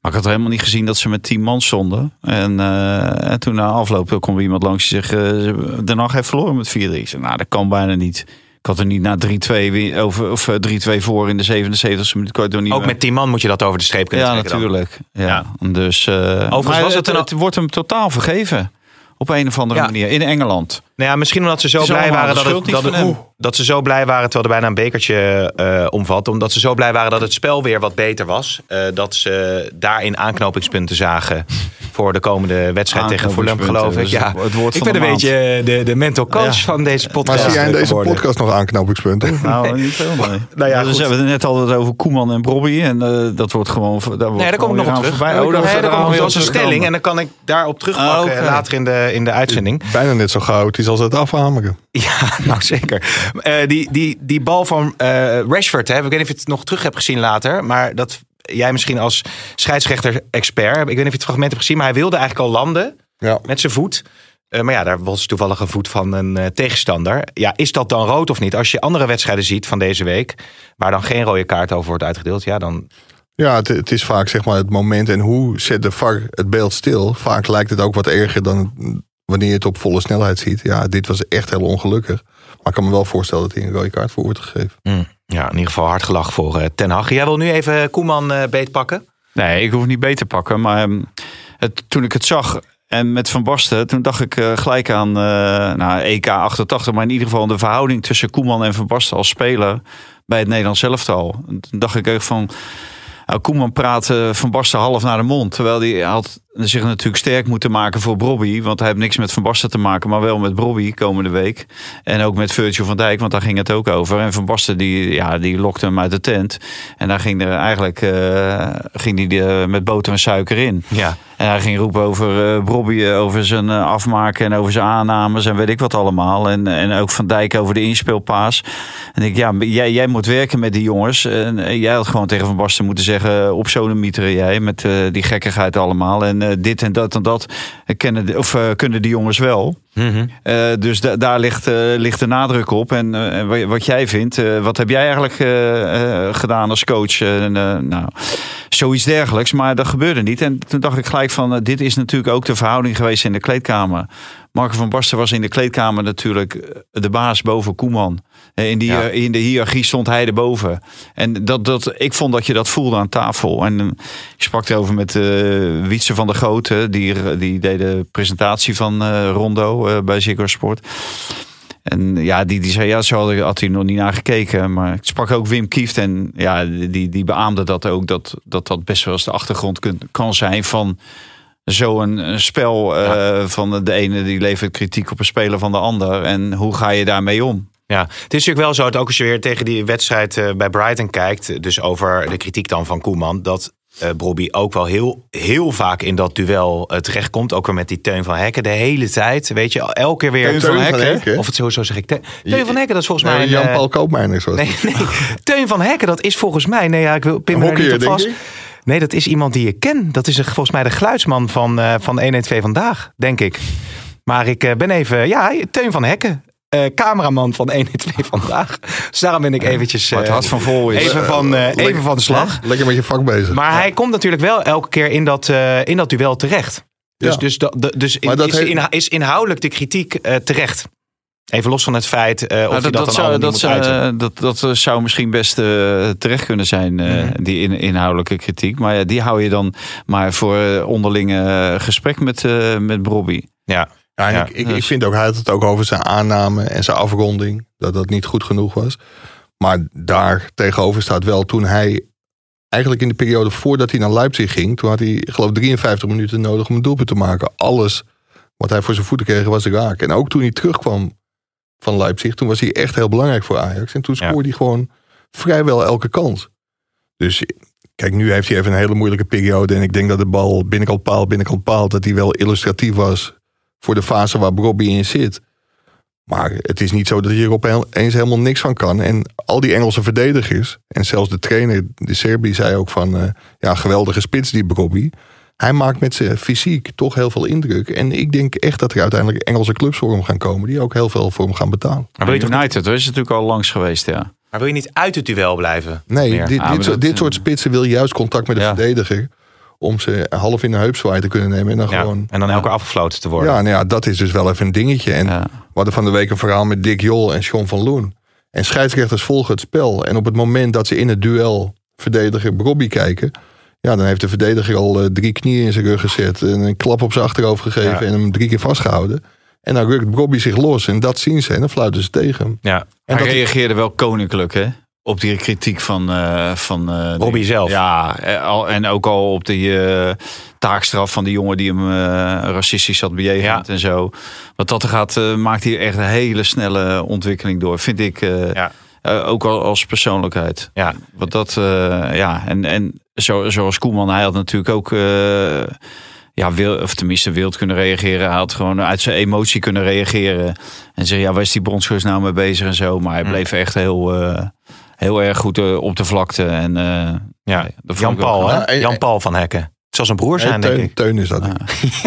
Maar ik had helemaal niet gezien dat ze met 10 man stonden. En, eh, en toen na afloop kwam er iemand langs die zegt, eh Den Hag heeft verloren met 4-3. Ik zeg, nou, dat kan bijna niet. Ik had er niet na 3-2 weer over, of eh, 3-2 voor in de 77e minuut. Ik had er niet ook meer- met 10 man moet je dat over de streep kunnen ja, trekken dan. natuurlijk. Ja. Dus, eh, maar was het het, een- het wordt hem totaal vergeven. Op een of andere Ja. manier. In Engeland. Nou ja, misschien omdat ze zo Het is blij allemaal waren dat de het, schuld dat, niet het- van oeh, dat ze zo blij waren terwijl er bijna een bekertje eh, omvat. Omdat ze zo blij waren dat het spel weer wat beter was. eh, dat ze daarin aanknopingspunten zagen voor de komende wedstrijd tegen Fulham, geloof ik. Aanknopingspunten, Ja. dat is het woord ik van ben de een maand. beetje eh, de, de mental coach Ja. van deze podcast. Maar zie jij in deze geworden. podcast nog aanknopingspunten? (laughs) Nou, niet veel. Nee. Nou ja, dus goed. we hebben het net altijd over Koeman en Brobby. En eh, dat wordt gewoon. Daar wordt Nee, daar kom gewoon ik nog weer op aan terug. voorbij. Nee, daar kom ik Oh, nog daar op gaan we terug. Dat is een terug stelling en komen. dan kan ik daarop terugpakken Ah, oké. later in de, in de uitzending. Bijna net zo gauw. Het is als het afhameren. (laughs) Ja, nou zeker. Eh, die, die, die bal van eh, Rashford, hè, ik weet niet of je het nog terug hebt gezien later, maar dat jij misschien als scheidsrechter-expert, ik weet niet of je het fragment hebt gezien, maar hij wilde eigenlijk al landen Ja. met zijn voet. Eh, maar ja, daar was toevallig een voet van een eh, tegenstander. Ja, is dat dan rood of niet? Als je andere wedstrijden ziet van deze week, waar dan geen rode kaart over wordt uitgedeeld, ja, dan Ja, het, het is vaak zeg maar het moment en hoe zet de VAR het beeld stil. Vaak lijkt het ook wat erger dan wanneer je het op volle snelheid ziet. Ja, dit was echt heel ongelukkig. Maar ik kan me wel voorstellen dat hij een rode kaart voor wordt gegeven. ja, in ieder geval hard gelach voor eh, Ten Hag. Jij wil nu even Koeman eh, beetpakken? Nee, ik hoef het niet beter te pakken. Maar ehm, het, toen ik het zag en met Van Basten, toen dacht ik eh, gelijk aan eh, nou, EK 88. Maar in ieder geval de verhouding tussen Koeman en Van Basten als speler bij het Nederlands elftal. En Toen dacht ik echt van. nou, Koeman praat eh, Van Basten half naar de mond. Terwijl hij had zich natuurlijk sterk moeten maken voor Bobby. Want hij heeft niks met Van Basten te maken, maar wel met Bobby komende week. En ook met Virgil van Dijk, want daar ging het ook over. En Van Basten die, ja, die lokte hem uit de tent. En daar ging er eigenlijk eh, ging die er met boter en suiker in. Ja. En hij ging roepen over eh Bobby, eh, over zijn eh, afmaken en over zijn aannames en weet ik wat allemaal. En, en ook Van Dijk over de inspeelpaas. En ik, ja, maar jij, jij moet werken met die jongens. En eh, jij had gewoon tegen Van Basten moeten zeggen, eh, op zo'n mieter jij met eh, die gekkigheid allemaal. En eh, dit en dat en dat eh, kennen, de- of, eh, kunnen die jongens wel. Eh, dus da- daar ligt, eh, ligt de nadruk op. En eh, en wa- wat jij vindt, eh, wat heb jij eigenlijk eh, eh, gedaan als coach? En, eh, nou, zoiets dergelijks, maar dat gebeurde niet. En toen dacht ik gelijk van, eh, dit is natuurlijk ook de verhouding geweest in de kleedkamer. Marco van Basten was in de kleedkamer natuurlijk eh, de baas boven Koeman. Eh, In, die, Ja. eh, in de hiërarchie stond hij erboven. En dat, dat, ik vond dat je dat voelde aan tafel. En eh, ik sprak erover met eh Wietse van der Goten. Die, die deed de presentatie van eh, Rondo eh, bij Ziggo Sport. En ja, die, die zei, ja, zo had, ik, had hij nog niet naar gekeken. Maar ik sprak ook Wim Kieft en ja, die, die beaamde dat ook. Dat, dat dat best wel eens de achtergrond kun- kan zijn van zo'n eh, spel. eh, van de ene die levert kritiek op een speler van de ander. En hoe ga je daarmee om? Ja, het is natuurlijk wel zo dat ook als je weer tegen die wedstrijd eh, bij Brighton kijkt, eh, dus over de kritiek dan van Koeman, dat eh Bobby ook wel heel, heel vaak in dat duel eh, terechtkomt. Ook weer met die Teun van Hekken de hele tijd. Weet je, elke keer weer. Teun van Teun van Hekken? Hekken? Of het sowieso zeg ik. Te- Teun van Hekken, dat is volgens mij. Nee, een, eh, Jan-Paul Koopmeiners was (laughs) Nee, het. nee. Teun van Hekken, dat is volgens mij. Nee, ja, ik wil pin me daar Hockeyer, niet op denk vast. ik. Nee, dat is iemand die ik ken. Dat is een- volgens mij de geluidsman van, eh van 112 vandaag, denk ik. Maar ik eh, ben even. Ja, Teun van Hekken. eh, cameraman van 112 vandaag. Dus daarom ben ik eventjes. Maar het eh, hart van vol is. Even van, eh, even van de slag. Lekker met je vak bezig. Maar hij komt natuurlijk wel elke keer in dat, eh, in dat duel terecht. Dus, Ja. dus, dat- dat- dus in- Maar dat is, heeft- inha- is inhoudelijk de kritiek eh, terecht. Even los van het feit eh, of Nou, je dat, dat, dan dat, zou, allemaal dat, moet zou, uiten. dat, dat eh, zou misschien best eh, terecht kunnen zijn, eh, die in, inhoudelijke kritiek. Maar ja, die hou je dan maar voor eh, onderlinge eh, gesprek met, eh met Bobby. Ja. Ja, en Ja, ik, ik, dus- ik vind ook, hij had het ook over zijn aanname en zijn afronding. Dat dat niet goed genoeg was. Maar daar tegenover staat wel toen hij... Eigenlijk in de periode voordat hij naar Leipzig ging... toen had hij geloof ik 53 minuten nodig om een doelpunt te maken. Alles wat hij voor zijn voeten kreeg was raak. En ook toen hij terugkwam van Leipzig... toen was hij echt heel belangrijk voor Ajax. En toen Ja. scoorde hij gewoon vrijwel elke kans. Dus Kijk, nu heeft hij even een hele moeilijke periode. En ik denk dat de bal binnenkant paal, binnenkant paal... dat hij wel illustratief was voor de fase waar Bobby in zit. Maar het is niet zo dat je er opeens helemaal niks van kan. En al die Engelse verdedigers... en zelfs de trainer, de Serbi, zei ook van... eh, ja, geweldige spits die Bobby. Hij maakt met zijn fysiek toch heel veel indruk. En ik denk echt dat er uiteindelijk Engelse clubs voor hem gaan komen... die ook heel veel voor hem gaan betalen. Maar wil je toch United hoor, is natuurlijk al langs geweest, ja. Maar wil je niet uit het duel blijven? Nee, Meer. dit, Ah, maar dit, soort- dat, dit eh, soort spitsen wil je juist contact met de ja. verdediger... om ze half in de heupzwaai te kunnen nemen en dan Ja, gewoon... En dan elke keer afgefloten te worden. Ja, nou ja, dat is dus wel even een dingetje. En Ja. we hadden van de week een verhaal met Dick Jol en Sean van Loen. En scheidsrechters volgen het spel. En op het moment dat ze in het duel verdediger Bobby kijken... Ja, dan heeft de verdediger al eh, drie knieën in zijn rug gezet... en een klap op zijn achterhoofd gegeven Ja. en hem drie keer vastgehouden. En dan rukt Bobby zich los en dat zien ze en dan fluiten ze tegen hem. Ja. En hij dat- reageerde wel koninklijk, hè? Op die kritiek van... eh van eh, Robbie die- zelf. Ja, eh, al- en ook al op die eh, taakstraf van die jongen die hem eh, racistisch had bejegend Ja. en zo. Wat dat er gaat, eh, maakt hij echt een hele snelle ontwikkeling door, vind ik. eh, Ja. eh, ook al als persoonlijkheid. Ja. Want dat, eh, ja, en, en zo, zoals Koeman, hij had natuurlijk ook, eh, ja, wil, of tenminste wild kunnen reageren. Hij had gewoon uit zijn emotie kunnen reageren. En zeggen, ja, waar is die bondscoach nou mee bezig en zo. Maar hij bleef echt heel, eh, heel erg goed eh, op de vlakte. En, eh, ja. nee, dat vond ik wel Jan-Paul, knap. Ja, hè? en- Jan-Paul van Hekken. Het zal zijn broer Nee, zijn, Nou, eh, teun, denk ik. Teun is dat. (laughs)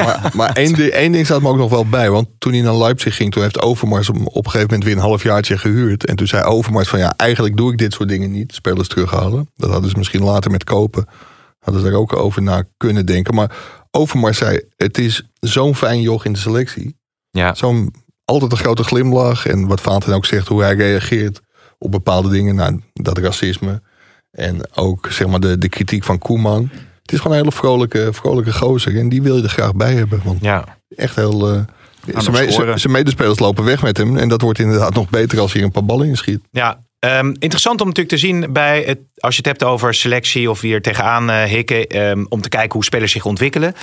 Maar, maar één, ding- één ding staat me ook nog wel bij. Want toen hij naar Leipzig ging, toen heeft Overmars hem op een gegeven moment weer een halfjaartje gehuurd. En toen zei Overmars van ja, eigenlijk doe ik dit soort dingen niet. Spelers terughalen. Dat hadden ze misschien later met kopen. Hadden ze daar ook over na kunnen denken. Maar Overmars zei, het is zo'n fijn joch in de selectie. Ja. Zo'n altijd een grote glimlach. En wat Vaanten ook zegt, hoe hij reageert op bepaalde dingen. Nou, dat racisme. En ook zeg maar de, de kritiek van Koeman. Het is gewoon een hele vrolijke, vrolijke gozer. En die wil je er graag bij hebben. Want Ja. echt heel... eh, zijn, me- scoren. zijn- zijn medespelers lopen weg met hem. En dat wordt inderdaad nog beter als hij een paar ballen inschiet. ja. Ehm, interessant om natuurlijk te zien bij het, als je het hebt over selectie of wie er tegenaan eh, hikken. ehm, om te kijken hoe spelers zich ontwikkelen.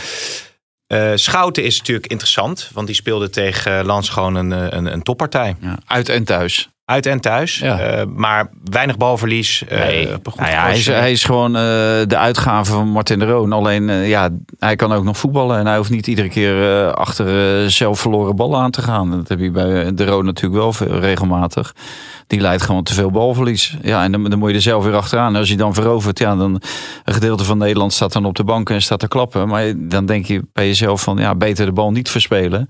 Eh, Schouten is natuurlijk interessant, want die speelde tegen eh, Lans gewoon een, eh, een, een toppartij. Ja, uit en thuis. Uit en thuis, Ja. eh, maar weinig balverlies. eh, op een goed Nou ja, hij, is, coach. hij is gewoon eh, de uitgave van Martin de Roon. Alleen, eh, ja, hij kan ook nog voetballen. En hij hoeft niet iedere keer eh, achter eh, zelf verloren ballen aan te gaan. Dat heb je bij de Roon natuurlijk wel veel- regelmatig. Die leidt gewoon te veel balverlies. Ja, en dan, dan moet je er zelf weer achteraan. En als je dan verovert, ja, dan een gedeelte van Nederland staat dan op de bank en staat te klappen. Maar dan denk je bij jezelf van, ja, beter de bal niet verspelen.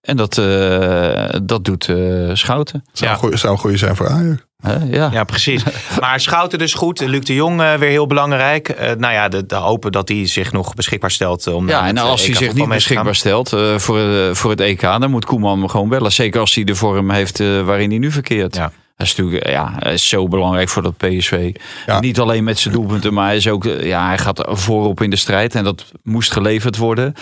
En dat, eh, dat doet eh, Schouten. Zou, Ja. een goeie- zou een goede zijn voor Ajax. Hè? ja. (laughs) Ja, precies. Maar Schouten dus goed. Luc de Jong eh, weer heel belangrijk. Eh, nou ja, de, de hopen dat hij zich nog beschikbaar stelt. eh, Om Ja, naar en het, eh, als hij EK zich voetbal niet mee te gaan. beschikbaar stelt eh, voor, eh, voor het EK, dan moet Koeman hem gewoon bellen. Zeker als hij de vorm heeft eh, waarin hij nu verkeert. Ja. Hij is natuurlijk eh, ja, hij is zo belangrijk voor dat PSV. Ja. Niet alleen met zijn doelpunten, maar hij, is ook, eh, ja, hij gaat voorop in de strijd. En dat moest geleverd worden.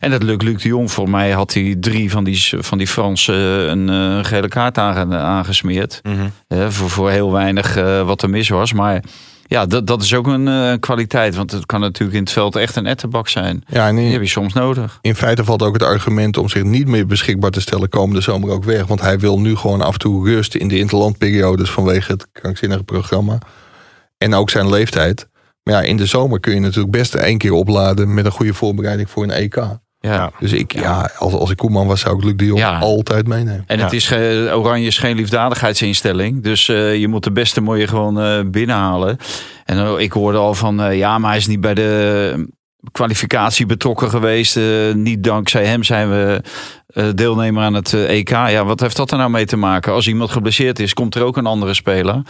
En dat lukt Luc de Jong. Voor mij had hij drie van die, van die Fransen een eh, gele kaart aange- aangesmeerd. Mhm. Hè, voor, voor heel weinig eh, wat er mis was. Maar ja, dat, dat is ook een eh, kwaliteit. Want het kan natuurlijk in het veld echt een ettenbak zijn. Ja, en Die in, heb je soms nodig. in feite valt ook het argument om zich niet meer beschikbaar te stellen komende zomer ook weg. Want hij wil nu gewoon af en toe rust in de interlandperiodes vanwege het krankzinnige programma. En ook zijn leeftijd. Maar ja, in de zomer kun je natuurlijk best één keer opladen met een goede voorbereiding voor een EK. Ja. Dus ik, ja, als, als ik Koeman was, zou ik Luc de Jong Ja. altijd meenemen. En het is ge- Oranje is geen liefdadigheidsinstelling. Dus eh, je moet de beste moet je gewoon eh, binnenhalen. En eh, ik hoorde al van eh, ja, maar hij is niet bij de eh, kwalificatie betrokken geweest. Eh, niet dankzij hem zijn we eh, deelnemer aan het eh, EK. Ja, wat heeft dat er nou mee te maken? Als iemand geblesseerd is, komt er ook een andere speler.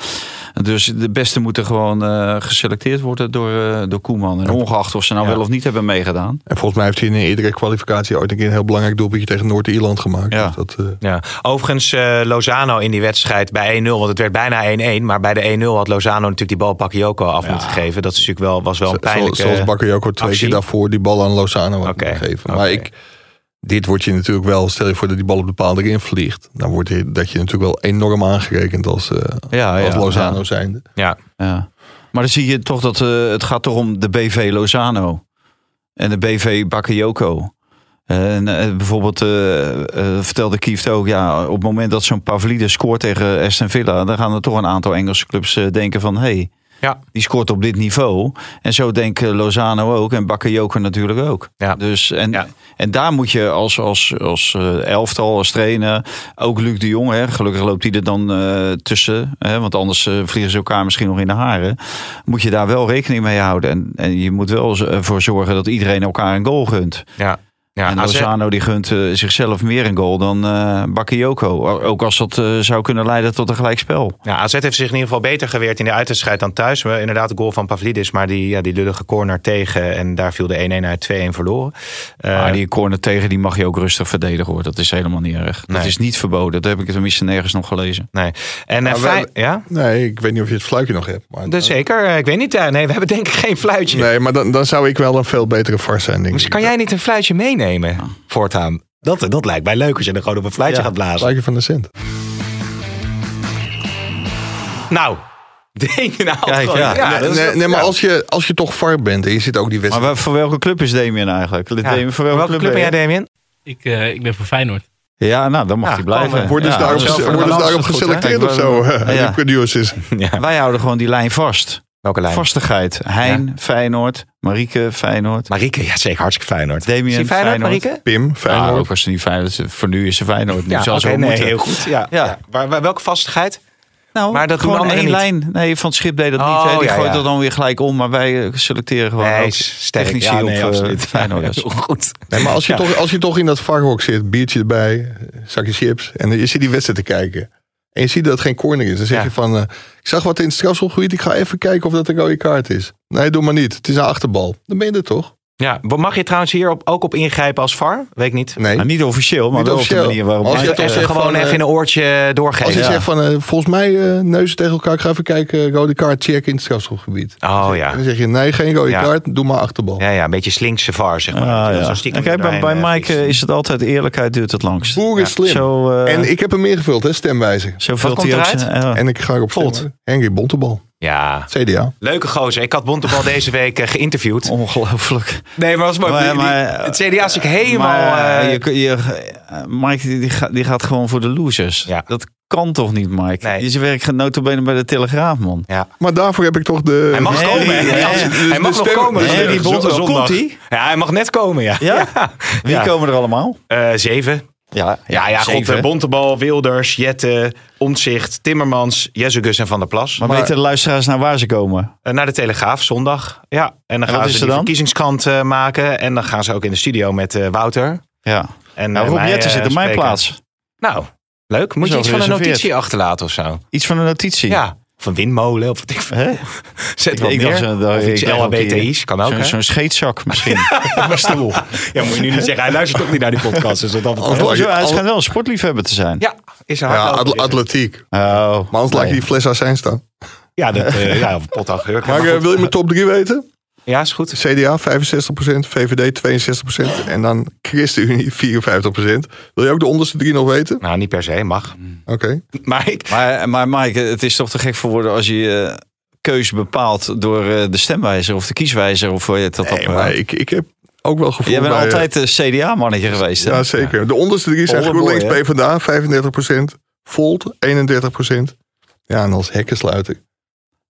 Dus de beste moeten gewoon eh, geselecteerd worden door, eh, door Koeman. En ongeacht of ze nou wel of niet hebben meegedaan. En volgens mij heeft hij in een eerdere kwalificatie ooit een keer een heel belangrijk doelpuntje tegen Noord-Ierland gemaakt. Ja. Dus dat, eh, Ja. Overigens, eh, Lozano in die wedstrijd bij 1-0, want het werd bijna 1-1. Maar bij de 1-0 had Lozano natuurlijk die bal Bakayoko af moeten geven. Dat is natuurlijk wel, was wel een Zoals, pijnlijke... zoals Bakayoko twee actie. keer daarvoor die bal aan Lozano had Oké, gegeven. Maar oké. ik, dit wordt je natuurlijk wel, stel je voor dat die bal op de paal erin vliegt. Dan wordt je, dat je natuurlijk wel enorm aangerekend als, eh, Ja, als ja, Lozano ja. zijnde. Ja, Ja. Maar dan zie je toch dat eh, het gaat toch om de BV Lozano en de BV Bakayoko. En eh, bijvoorbeeld eh, eh, vertelde Kieft ook, ja, op het moment dat zo'n Pavlidis scoort tegen Aston Villa, dan gaan er toch een aantal Engelse clubs eh, denken van, hey, Ja. die scoort op dit niveau. En zo denken Lozano ook en Bakayoko natuurlijk ook. Ja. Dus, en, Ja. en daar moet je als, als, als eh, elftal, als trainer, ook Luc de Jong, hè, gelukkig loopt hij er dan eh, tussen, hè, want anders eh, vliegen ze elkaar misschien nog in de haren. Moet je daar wel rekening mee houden. En, en je moet wel z- ervoor zorgen dat iedereen elkaar een goal gunt. ja. ja. en AZ Lozano die gunt eh, zichzelf meer een goal dan eh Bakayoko. O- Ook als dat eh, zou kunnen leiden tot een gelijkspel. Ja, AZ heeft zich in ieder geval beter geweerd in de uitwedstrijd dan thuis. Maar inderdaad, de goal van Pavlidis, maar die, ja, die lullige corner tegen. En daar viel de 1-1 uit 2-1 verloren. Eh, maar Ah, die corner tegen die mag je ook rustig verdedigen hoor. Dat is helemaal niet erg. Dat Nee. is niet verboden. Dat heb ik tenminste nergens nog gelezen. Nee. En eh, Maar we Fijn- hebben- ja? Nee, ik weet niet of je het fluitje nog hebt. Maar Dus zeker. eh, Ik weet niet. eh, Nee, we hebben denk ik geen fluitje. Nee, maar dan, dan zou ik wel een veel betere VAR zijn, denk Dus ik. kan jij niet een fluitje meenemen voortaan? Dat, dat lijkt mij leuk als je er gewoon op een fluitje gaat blazen. Fluitje van de cent. Nou, (laughs) denk je nou Kijk, gewoon- ja. dat is- nee, nee, maar ja. als je, als je toch VAR bent en je zit ook die Maar wedstrijd... waar- voor welke club is Damien eigenlijk? Ja. Damien, voor Welke, welke, club ben jij, Damien? Ik, eh, ik ben voor Feyenoord. Ja, nou, dan mag Ja, eh, hij blijven. komen. Worden Ja, ze dus daarop, dat is wel worden ze een daarop balans, dat is goed, hè? geselecteerd Kijk, of we- zo? (laughs) Ja. Die producers. Wij houden gewoon die lijn vast. Welke lijn? Vastigheid. Hein, Feyenoord. Marieke, Feyenoord. Marieke, ja zeker, hartstikke Feyenoord. Damien, Is hij Feyenoord, Feyenoord. Marieke? Pim, Ja, Feyenoord. ook als ze niet Feyenoord is. Voor nu is ze Feyenoord. Nu Ja, zal ze oké, nee, wel moeten. heel goed. Ja. Ja. Ja. Maar, maar welke vastigheid? Nou, Maar maar dat dat doen gewoon één anderen lijn. Nee, van het schip deed dat Oh, niet. Hè. Die ja, gooit ja. dat dan weer gelijk om. Maar wij eh, selecteren gewoon Nee, ook sterk. technici Ja, op nee, eh, (laughs) absoluut. Feyenoorders. Heel goed. Nee, maar als je, Ja. toch, als je toch in dat varkhok zit, biertje erbij, zakje chips. En je zit die wedstrijd te kijken. En je ziet dat het geen corner is. Dan zeg Ja. je van, eh, ik zag wat in het strafschopgebied. Ik ga even kijken of dat een rode kaart is. Nee, doe maar niet. Het is een achterbal. Dan ben je er toch? Ja, wat mag je trouwens hier op, ook op ingrijpen als VAR? Weet ik niet. Nee. Maar niet officieel, maar Niet wel op officieel. de manier waarop... Als hij- je Even, toch even zegt gewoon van, eh, even een oortje Als doorgeven. je Ja. zegt van, eh, volgens mij eh, neuzen tegen elkaar. Ik ga even kijken, eh, rode kaart, check in het strafschopgebied. Oh En ja. dan zeg je, nee, geen rode Ja. kaart. Doe maar achterbal. Ja, ja, een beetje slinkse VAR, zeg maar. Ah, Dat je dat ja. zo stiekem Kijk, bij, erdoorheen, bij eh, Mike eh, fietst. is het altijd eerlijkheid duurt het langst. Boer is slim. Zo, eh, En ik heb hem ingevuld, hè, stemwijzer. zo vult komt hij ook eruit? zijn- eh, ja. En ik ga erop Volt. stemmen. Henry Bontebal. Ja. CDA. Leuke gozer. Ik had (laughs) Bontebal deze week eh, geïnterviewd. Ongelooflijk. Nee, maar dat was Maar- mooi. Die- die- maar- het CDA is ik helemaal... Maar, eh, eh, je, je, eh, Mike die, die, gaat, die gaat gewoon voor de losers. Ja. Dat kan toch niet, Mike? Nee. Je werkt gaat notabene bij de Telegraaf, man. Maar daarvoor heb ik toch de... hij (laughs) mag Nee, komen. hè? nee, Als- nee. hij mag de nog stem- komen. Nee, Dus, eh, die z- Bontebal, zondag. komt die? Ja, hij mag net komen, ja. Ja? Wie Ja. komen er allemaal? Eh, zeven. Ja, Ja, ja, zeven. God, eh, Bontebal, Wilders, Jette, Omtzigt, Timmermans, Jezus en Van der Plas. Maar, Maar- weten de luisteraars naar waar ze komen? Eh, naar de Telegraaf zondag. Ja, en dan wat gaan is ze er de dan? verkiezingskant eh, maken. En dan gaan ze ook in de studio met eh, Wouter. Ja. En, Nou, eh, Rob mij, Jetten eh, zit in mijn spreken. plaats. Nou, leuk. Moet Is je al iets van een gereserveerd. notitie achterlaten of zo? Iets van een notitie. Ja. Of een windmolen of wat ik (laughs) Hè? Zet wat Ik neer. dacht, eh, dat- of iets ik dacht ook die- LHBTI's, kan ook. Zo'n hè? zo'n scheetzak (laughs) misschien. Een stoel. Ja, moet je nu niet zeggen. Hij luistert toch niet naar die podcast. Dus wat dat betreft- Anders laat je- Zo, hij al- schijnt wel een sportliefhebber te zijn. Ja, is een Ja, hardloper, atle- is het. atletiek. Oh. Maar anders laat je die fles azijn staan. Ja, dat, eh, ja, of pot aan geur. Maar Maar eh, eh, goed. wil je mijn top 3 weten? Ja, is goed. CDA 65%, VVD 62% en dan ChristenUnie 54%. Wil je ook de onderste drie nog weten? Nou, niet per se, mag. Oké. Maar ik... Maar, maar Mike, het is toch te gek voor woorden als je eh keus bepaalt door eh, de stemwijzer of de kieswijzer of hoe je het dat Nee, ook maar maar, eh, ik, ik heb ook wel gevoel Jij bent bij, eh, altijd eh, een CDA-mannetje geweest. hè? Ja, zeker. De onderste drie zijn Polderboy, GroenLinks hè? PvdA 35%, Volt 31%. Ja, en als hekkensluiter.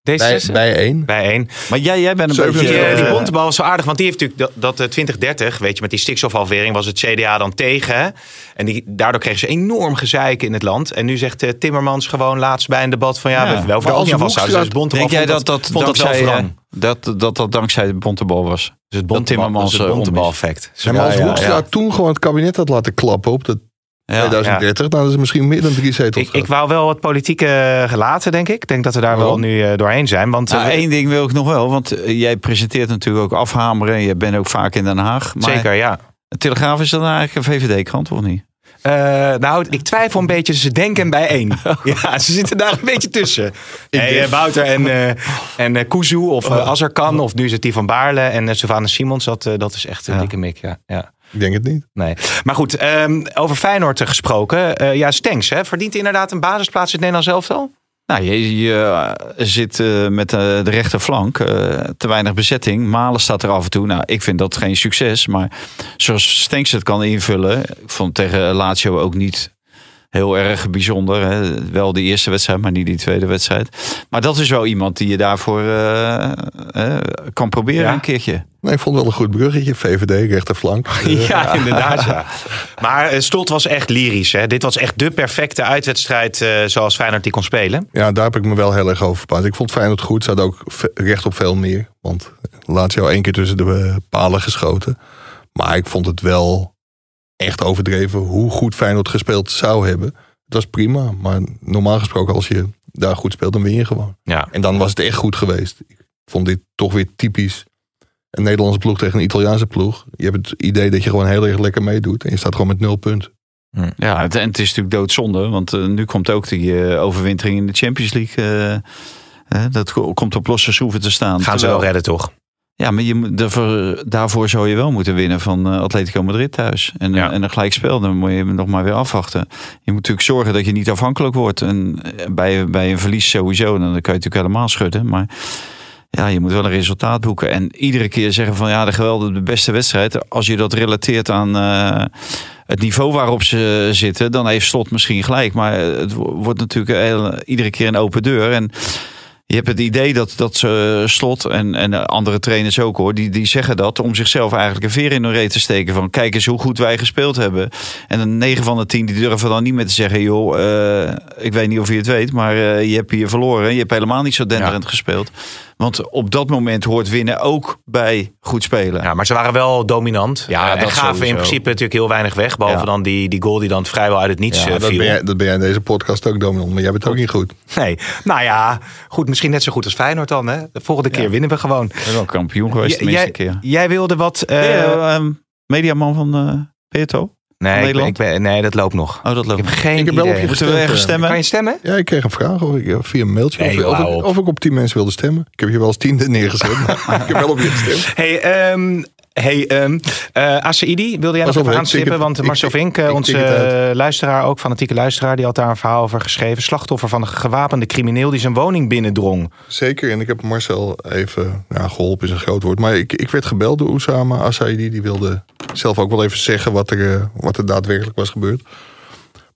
Bij, D66? bij één. Bij één. Maar jij, jij bent een Zeven- beetje... Die, eh, eh, die bontebal was zo aardig, want die heeft natuurlijk dat, dat eh, 2030, weet je, met die stikstofhalvering was het CDA dan tegen. hè? En die, daardoor kregen ze enorm gezeik in het land. En nu zegt eh, Timmermans gewoon laatst bij een debat van ja, Ja. we wel De van niet aan Alse vasthouden. Dus Hoekstraat- Bontebal denk jij vond dat dat, vond dat wel dankzij, wrang. eh, dat, dat dat dankzij de bontebal was? Dus het Bontebal- Timmermans dus het eh, Bontebal onderbal. effect. En maar als Ja, ja, Hoekstra toen gewoon het kabinet had laten klappen op dat Ja, ja. 2030, dan is het misschien meer dan drie zetels. Ik, eh, ik wou wel wat politieke eh, gelaten, denk ik. Ik denk dat we daar wel Waarom? nu eh, doorheen zijn. Want eh, Nou, één ding wil ik nog wel, want eh, jij presenteert natuurlijk ook afhameren. Je bent ook vaak in Den Haag. Maar zeker, ja. De Telegraaf is dan eigenlijk een VVD-krant, of niet? Eh, nou, ik twijfel een beetje. Ze denken bij (laughs) één. ja, ze zitten daar een beetje tussen. Hey, eh, Wouter en, eh en eh, Kuzu of eh, Azarkan. Of nu is het die van Baarle. En eh, Savannah Simons. Dat, eh, dat is echt een dikke mik. Ja, ja. Ik denk het niet. Nee. Maar goed, ehm, over Feyenoord eh, gesproken. Eh, ja, Stenks. Hè, verdient hij inderdaad een basisplaats in het Nederlands elftal? Nou, je, je zit eh, met eh, de rechterflank, eh, te weinig bezetting. Malen staat er af en toe. Nou, ik vind dat geen succes. Maar zoals Stenks het kan invullen, ik vond tegen Lazio ook niet heel erg bijzonder. Hè. Wel de eerste wedstrijd, maar niet die tweede wedstrijd. Maar dat is wel iemand die je daarvoor eh, eh, kan proberen Ja. een keertje. Nee, ik vond wel een goed bruggetje. VVD, rechterflank. Ja, (laughs) inderdaad. Ja. Maar eh, Stolt was echt lyrisch. Hè. Dit was echt de perfecte uitwedstrijd eh, zoals Feyenoord die kon spelen. Ja, daar heb ik me wel heel erg over verbaasd. Ik vond Feyenoord goed. Ze hadden ook ve- recht op veel meer. Want laatst jou één keer tussen de eh, palen geschoten. Maar ik vond het wel echt overdreven hoe goed Feyenoord gespeeld zou hebben. Dat is prima. Maar normaal gesproken, als je daar goed speelt, dan win je gewoon. Ja. En dan was het echt goed geweest. Ik vond dit toch weer typisch. Een Nederlandse ploeg tegen een Italiaanse ploeg. Je hebt het idee dat je gewoon heel erg lekker meedoet. En je staat gewoon met nul punten. Ja, het, en het is natuurlijk doodzonde, want eh, nu komt ook die eh, overwintering in de Champions League. eh, eh, dat ko- komt op losse schroeven te staan. Gaan ze Terwijl- wel redden, toch? Ja, maar je, moet- daarvoor, daarvoor zou je wel moeten winnen van eh, Atletico Madrid thuis. En, Ja. en een gelijkspel, dan moet je nog maar weer afwachten. Je moet natuurlijk zorgen dat je niet afhankelijk wordt. En eh, bij, bij een verlies sowieso, dan kan je het natuurlijk helemaal schudden. Maar ja, je moet wel een resultaat boeken. En iedere keer zeggen van ja, de geweldige, de beste wedstrijd. Als je dat relateert aan eh, het niveau waarop ze zitten, dan heeft Slot misschien gelijk. Maar eh, het wo- wordt natuurlijk heel- iedere keer een open deur. En je hebt het idee dat, dat ze slot en, en andere trainers ook hoor, die, die zeggen dat om zichzelf eigenlijk een veer in hun reet te steken. Van kijk eens hoe goed wij gespeeld hebben. En dan 9 van de 10 die durven dan niet meer te zeggen: joh, eh, ik weet niet of je het weet, maar eh, je hebt hier verloren. Je hebt helemaal niet zo denderend gespeeld. Want op dat moment hoort winnen ook bij goed spelen. Nou Ja, maar ze waren wel dominant. Ja, Ja, en dat gaven in sowieso. principe natuurlijk heel weinig weg. Behalve Ja. dan die, die goal die dan vrijwel uit het niets eh, dat, viel. ben jij, dat ben jij in deze podcast ook, Dominant. Maar jij bent ook niet goed. Nee, nou ja, goed, misschien net zo goed als Feyenoord dan. Hè? De volgende keer winnen we gewoon. We zijn wel kampioen geweest de J- meeste jij, keer. jij wilde wat... eh, Ben je, ehm, mediaman van eh Peto? nee, ik ben, Nederland? ik ben- nee, dat loopt nog. Oh, dat Ik loopt. heb geen Ik heb wel idee. op je Moeten we gestemd, ergens eh. stemmen? Kan je stemmen? Ja, ik kreeg een vraag of ik, eh, via een mailtje Nee, of, of, hou ik, op. (laughs) of ik op 10 mensen wilde stemmen. Ik heb je wel als tiende neergezet, maar ik heb wel op je gestemd. Hey, ehm, Hey, ehm eh Asaidi, wilde jij Pas nog even op, ik tik aanstippen? het- Want ik Marcel tik- Vink, eh, ik tik onze het uit. eh, luisteraar, ook fanatieke luisteraar, die had daar een verhaal over geschreven. Slachtoffer van een gewapende crimineel die zijn woning binnendrong. Zeker, en ik heb Marcel even ja, geholpen, is een groot woord. Maar ik, ik werd gebeld door Oussama Assaidi. Die wilde zelf ook wel even zeggen wat er, eh, wat er daadwerkelijk was gebeurd.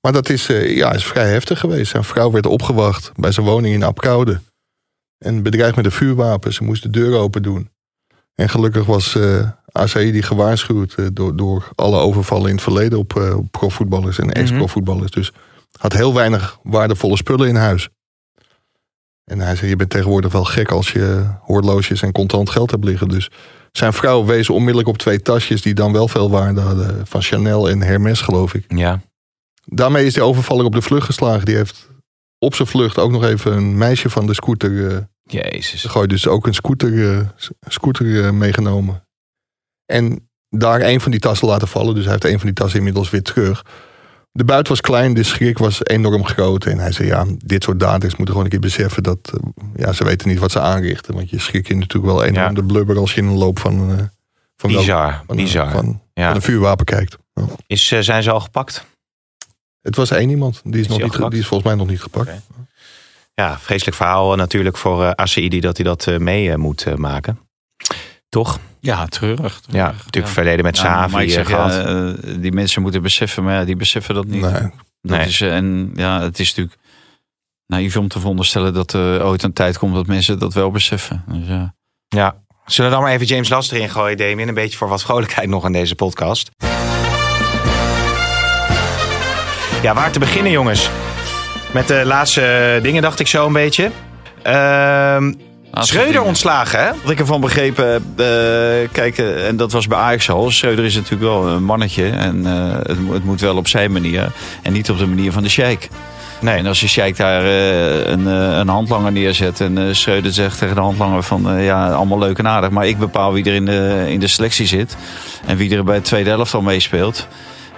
Maar dat is, eh, ja, is vrij heftig geweest. Zijn vrouw werd opgewacht bij zijn woning in Apkoude. En bedreigd met een vuurwapen. Ze moest de deur open doen. En gelukkig was eh Assaidi gewaarschuwd eh, door, door alle overvallen in het verleden op, eh, op profvoetballers en ex-profvoetballers. Dus had heel weinig waardevolle spullen in huis. En hij zei, je bent tegenwoordig wel gek als je horloges en contant geld hebt liggen. Dus zijn vrouw wees onmiddellijk op twee tasjes die dan wel veel waarde hadden. Van Chanel en Hermes geloof ik. Ja. Daarmee is de overvaller op de vlucht geslagen. Die heeft op zijn vlucht ook nog even een meisje van de scooter eh Jezus. gegooid. Dus ook een scooter, eh, s- scooter eh, meegenomen. En daar een van die tassen laten vallen. Dus hij heeft een van die tassen inmiddels weer terug. De buit was klein, de schrik was enorm groot. En hij zei, ja, dit soort daders moeten gewoon een keer beseffen dat... eh, Ja, ze weten niet wat ze aanrichten. Want je schrik je natuurlijk wel enorm Ja. de blubber als je in een loop van... eh, van welk- Bizar, van, eh, bizar. Van, ja. van een vuurwapen kijkt. Nou, Is, eh, zijn ze al gepakt? Het was één iemand, die is, die nog al niet, ge- gepakt? die is volgens mij nog niet gepakt. Oké. Ja, vreselijk verhaal eh, natuurlijk voor eh Asaidi dat hij dat eh, mee eh, moet eh, maken. Toch? Ja, treurig. Ja, natuurlijk verleden met Ja, maar Savi ik eh, zeg, gehad. ja, eh, die mensen moeten beseffen, maar ja, die beseffen dat niet. Nee, Dat Nee. is, eh, en ja, het is natuurlijk naïef om te veronderstellen dat er ooit een tijd komt dat mensen dat wel beseffen. Dus, ja. Ja. Zullen we dan maar even James Laster in gooien, Damien? Een beetje voor wat vrolijkheid nog aan deze podcast. Ja, waar te beginnen, jongens? Met de laatste dingen dacht ik zo een beetje. Ehm Laatste Schreuder dingen. ontslagen, hè? Wat ik ervan begrepen heb, eh, kijk, eh, en dat was bij Ajax al. Schreuder is natuurlijk wel een mannetje. En eh, het, mo- het moet wel op zijn manier. En niet op de manier van de sheik. Nee. En als de sheik daar eh, een, eh, een handlanger neerzet. En eh, Schreuder zegt tegen de handlanger van... eh, ja, allemaal leuk en aardig. Maar ik bepaal wie er in de, in de selectie zit. En wie er bij de tweede helft al meespeelt.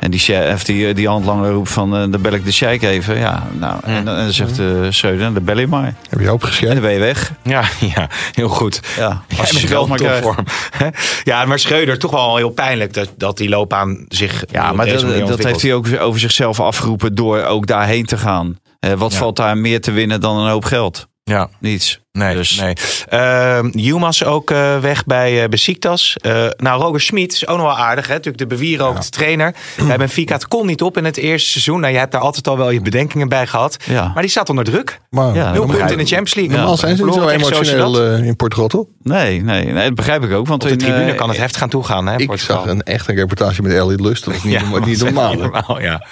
En die, she- of die, die handlanger roept van... eh, dan bel ik de sheik even. Ja, nou, en, dan- en dan zegt eh, Schreuder... "Nou, dan bel je maar. heb je En opgeschreven? dan ben je weg. Ja, (laughs) ja, heel goed. Ja, Als je geld maar krijgt. topvorm. (laughs) Ja, maar Schreuder, toch wel heel pijnlijk dat, dat die loopbaan zich Ja, op maar deze dat, manier dat heeft ontwikkelt. hij ook weer over zichzelf afgeroepen door ook daarheen te gaan. Eh, wat Ja. valt daar meer te winnen dan een hoop geld? Ja. Niets. Nee, Dus- nee. Ehm, Yilmaz ook eh, weg bij eh Besiktas. Eh, nou, Roger Schmid is ook nog wel aardig. Hè? Natuurlijk de bewierookte (clears throat) trainer. Bij Benfica, het kon niet op in het eerste seizoen. Nou, jij hebt daar altijd al wel je bedenkingen bij gehad. Ja. Maar die staat onder druk. Maar Ja, Nul dat punten begrijp in de ik. Champions League. normaal zijn ze niet zo Verloren tegen emotioneel Sociedad. eh, in Port Rotterdam. Nee, nee, nee, dat begrijp ik ook. Want Op de in, eh, tribune kan het heft gaan toegaan. Hè, Ik Portugal. zag een, echt een reportage met Elliot Lust. Dat is niet, Ja, norma- (laughs) dat niet is echt normaal. niet hè? normaal, ja.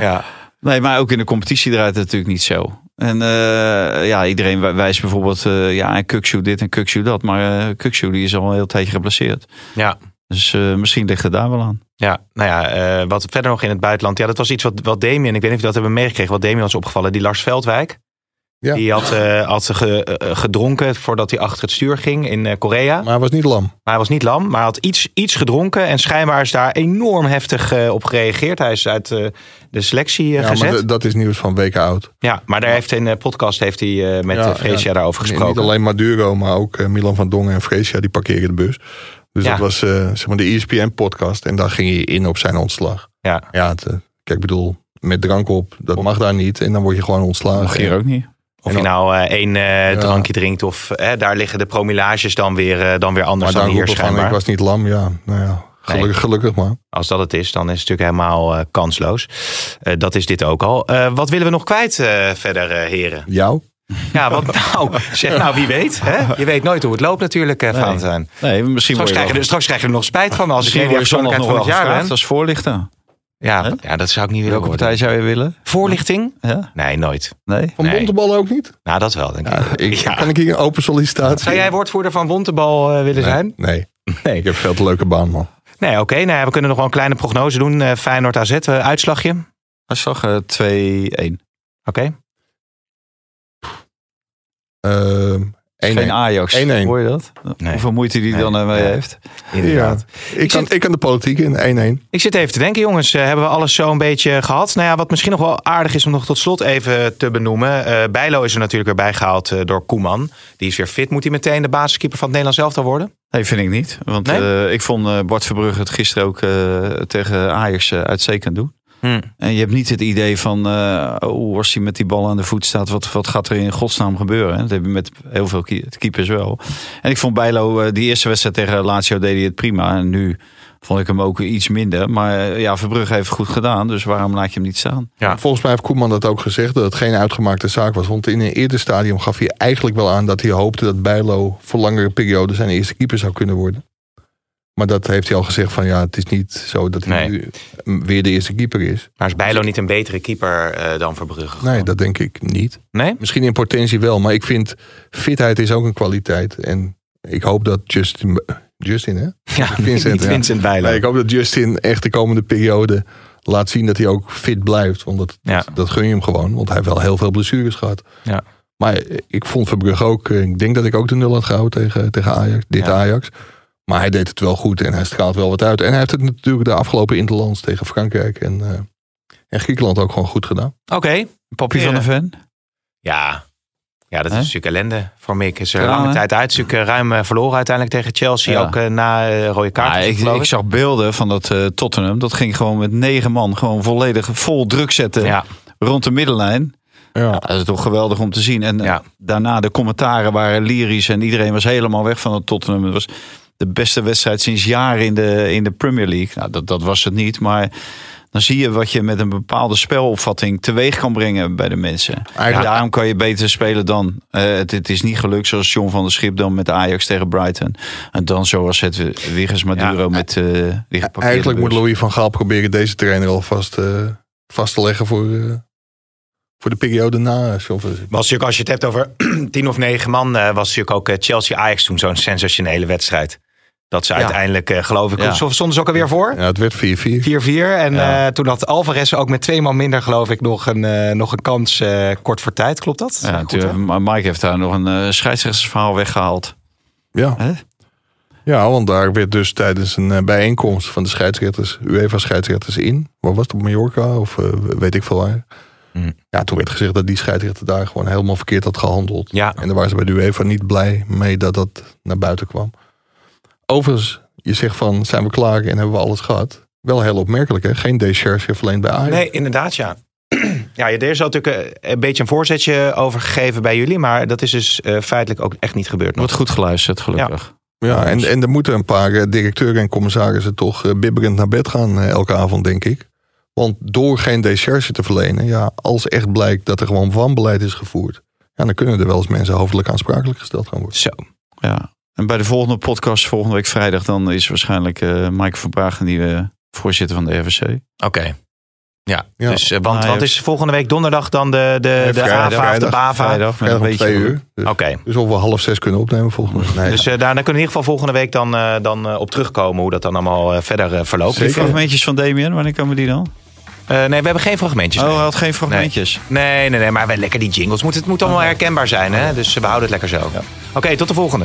ja. Nee, maar ook in de competitie draait het natuurlijk niet zo. En eh, ja, iedereen wij- wijst bijvoorbeeld eh ja, en Kukshoe dit en Kukshoe dat. Maar eh Kukshoe die is al een heel tijdje geblesseerd. Ja. Dus eh, misschien ligt het daar wel aan. Ja, nou ja, eh, wat verder nog in het buitenland. Ja, dat was iets wat, wat Damien, ik weet niet of je dat hebben meegekregen, wat Damien was opgevallen. Die Lars Veldwijk, Ja. die had, eh, had ge- eh, gedronken voordat hij achter het stuur ging in eh, Korea. Maar hij was niet lam. Maar hij was niet lam, maar hij had iets, iets gedronken. En schijnbaar is daar enorm heftig eh, op gereageerd. Hij is uit eh, de selectie eh, Ja, gezet. maar d- dat is nieuws van weken oud. Ja, maar daar heeft in de podcast heeft hij, eh, met Ja, eh, Freesia ja. daarover Nee, Niet gesproken. alleen Maduro, maar ook eh, Milan van Dongen en Freesia, die parkeren de bus. Dus Ja. dat was eh, zeg maar de ESPN-podcast. En daar ging hij in op zijn ontslag. Ja. Ja, het, eh, kijk, ik bedoel, met drank op, dat mag daar niet. En dan word je gewoon Mag ontslagen. hier ook niet. Of je En dan- nou eh, één eh, Ja. drankje drinkt of eh, daar liggen de promillages dan weer, eh, dan weer anders maar dan dan hier roepen van, schijnbaar. ik was niet lam. Ja, nou ja, gelukkig, gelukkig maar. Als dat het is, dan is het natuurlijk helemaal eh, kansloos. Eh, dat is dit ook al. Eh, wat willen we nog kwijt eh, verder, eh, heren? Jou? Ja, (laughs) wat nou? Zeg nou, wie weet. Hè? Je weet nooit hoe het loopt natuurlijk, eh, Valentijn. Nee, misschien Straks word je, krijgen, wel- we- straks krijgen we er nog spijt van als ik misschien geen word je zondag persoonlijkheid nog van wel het jaar gevraagd ben. als voorlichter. Ja, ja, dat zou ik niet willen Welke worden. partij zou je willen? Voorlichting? Ja? Nee, nooit. Nee? Van Nee. Bontebal ook niet? Nou, dat wel, denk ik. Ja, ik, (laughs) Ja. Kan ik hier een open sollicitatie? Zou jij woordvoerder van Wontebal eh, willen zijn? Nee, (laughs) Nee. ik heb veel te leuke baan, man. Nee, oké. nou ja, we kunnen nog wel een kleine prognose doen. Eh, Feyenoord AZ, eh, uitslagje. Oké. Dat zag eh, 2-1. Ehm, één- Geen Ajax. 1-1. Hoor je dat? Nee. Hoeveel moeite die Nee. dan ermee Ja. heeft. Inderdaad. ik, kan, zit- ik kan de politiek in 1-1. Ik zit even te denken, jongens, eh, hebben we alles zo een beetje gehad? Nou ja, wat misschien nog wel aardig is om nog tot slot even te benoemen. Eh Bijlo is er natuurlijk weer bijgehaald eh, door Koeman. Die is weer fit. Moet hij meteen de basiskeeper van het Nederlands elftal worden? Nee, vind ik niet. Want Nee? eh, ik vond eh, Bart Verbrugge het gisteren ook eh, tegen Ajax eh, uitstekend doen. Hm. En je hebt niet het idee van, eh, oh, als hij met die bal aan de voet staat, wat, wat gaat er in godsnaam gebeuren? Dat heb je met heel veel kie- keepers wel. En ik vond Bijlo, eh, die eerste wedstrijd tegen Lazio deed hij het prima. En nu vond ik hem ook iets minder. Maar eh, ja, Verbrugge heeft het goed gedaan, dus waarom laat je hem niet staan? Ja. Volgens mij heeft Koeman dat ook gezegd, dat het geen uitgemaakte zaak was. Want in een eerder stadium gaf hij eigenlijk wel aan dat hij hoopte dat Bijlo voor langere periode zijn eerste keeper zou kunnen worden. Maar dat heeft hij al gezegd van ja, het is niet zo dat hij Nee. nu eh, weer de eerste keeper is. Maar is Bijlo niet een betere keeper eh, dan Verbrugge? Nee, dat denk ik niet. Nee? Misschien in potentie wel, maar ik vind fitheid is ook een kwaliteit. En ik hoop dat Justin, Justin hè? Ja, Vincent, (laughs) niet ja. Vincent Bijlo. Nee, ik hoop dat Justin echt de komende periode laat zien dat hij ook fit blijft. Want dat, Ja. dat, dat gun je hem gewoon. Want hij heeft wel heel veel blessures gehad. Ja. Maar eh, ik vond Verbrugge ook... eh, Ik denk dat ik ook de nul had gehouden tegen, tegen Ajax. Dit Ja. Ajax. Maar hij deed het wel goed en hij straalt wel wat uit. En hij heeft het natuurlijk de afgelopen interlands tegen Frankrijk en, eh, en Griekenland ook gewoon goed gedaan. Oké. Papi van de Ven? Ja. Ja, dat Hè? is natuurlijk ellende voor Mick. Is er Kraan, lange hè? tijd uit. Is natuurlijk, eh, ruim eh, verloren uiteindelijk tegen Chelsea. Ja. Ook eh, na eh, rode kaart. Ja, ik, geloof ik ik. zag beelden van dat eh, Tottenham. Dat ging gewoon met negen man gewoon volledig vol druk zetten Ja. rond de middenlijn. Ja. Nou, Dat is toch geweldig om te zien. En eh, Ja. daarna de commentaren waren lyrisch en iedereen was helemaal weg van het Tottenham. Het was de beste wedstrijd sinds jaren in de, in de Premier League. Nou, dat, dat was het niet, maar... Dan zie je wat je met een bepaalde spelopvatting teweeg kan brengen bij de mensen. Eigenlijk- Ja, daarom kan je beter spelen dan. eh, het, het is niet gelukt zoals John van der Schip dan met Ajax tegen Brighton. En dan zoals het Wiggins Maduro Ja. met eh die geparkeerde Eigenlijk moet bus. Louis van Gaal proberen deze trainer alvast eh, vast te leggen voor, eh, voor de periode na. eh, John van der Schip. Was natuurlijk, als je het hebt over (clears throat) tien of negen man, eh, was natuurlijk ook eh, Chelsea-Ajax toen zo'n sensationele wedstrijd. Dat ze uiteindelijk, eh, geloof ik, Ja. zo- stonden ze ook alweer voor. Ja, het werd 4-4. 4-4. En Ja. eh, toen had Alvarez ook met twee man minder, geloof ik, nog een, eh, nog een kans eh, kort voor tijd. Klopt dat? Ja, Goed, natuurlijk. hè? Maar Mike heeft daar nog een eh, scheidsrechtersverhaal weggehaald. Ja. Hè? ja, want daar werd dus tijdens een eh, bijeenkomst van de scheidsrechters, UEFA-scheidsrechters in, waar was het, op Mallorca of eh, weet ik veel waar. Hmm. Ja, toen werd gezegd dat die scheidsrechter daar gewoon helemaal verkeerd had gehandeld. Ja. En daar waren ze bij de UEFA niet blij mee dat dat naar buiten kwam. Overigens, je zegt van, zijn we klaar en hebben we alles gehad? Wel heel opmerkelijk, hè? Geen decharge verleend bij Ajax. Nee, inderdaad, ja. (clears throat) Ja, er is al natuurlijk eh, een beetje een voorzetje over gegeven bij jullie, maar dat is dus eh, feitelijk ook echt niet gebeurd. Nog. Wordt goed geluisterd, gelukkig. Ja, en, en er moeten een paar eh, directeuren en commissarissen toch eh, bibberend naar bed gaan eh, elke avond, denk ik. Want door geen décharge te verlenen, ja, als echt blijkt dat er gewoon wanbeleid is gevoerd, ja, dan kunnen er wel eens mensen hoofdelijk aansprakelijk gesteld gaan worden. Zo. Ja. En bij de volgende podcast, volgende week vrijdag, dan is waarschijnlijk eh Mike van Bragen die eh, voorzitter van de RVC. Oké. Ja, Ja. dus eh, want, Ajax. want is volgende week donderdag dan de, de, de vrijdag, AVA of de vrijdag, BAVA? Oké, Vrijdag met Vrijdag een om beetje twee geluk. uur. Dus, dus of we half zes kunnen opnemen volgens mij. Nee, dus eh, daar, daar kunnen we in ieder geval volgende week dan, eh, dan eh, op terugkomen hoe dat dan allemaal eh, verder eh, verloopt. Die Zeker. fragmentjes van Damien, wanneer komen die dan? Eh, nee, we hebben geen fragmentjes. Oh, hij nee. had geen fragmentjes. Nee, nee, nee, maar wel lekker die jingles. Moet, het moet allemaal herkenbaar zijn, hè? Dus we houden het lekker zo. Oké, tot de volgende.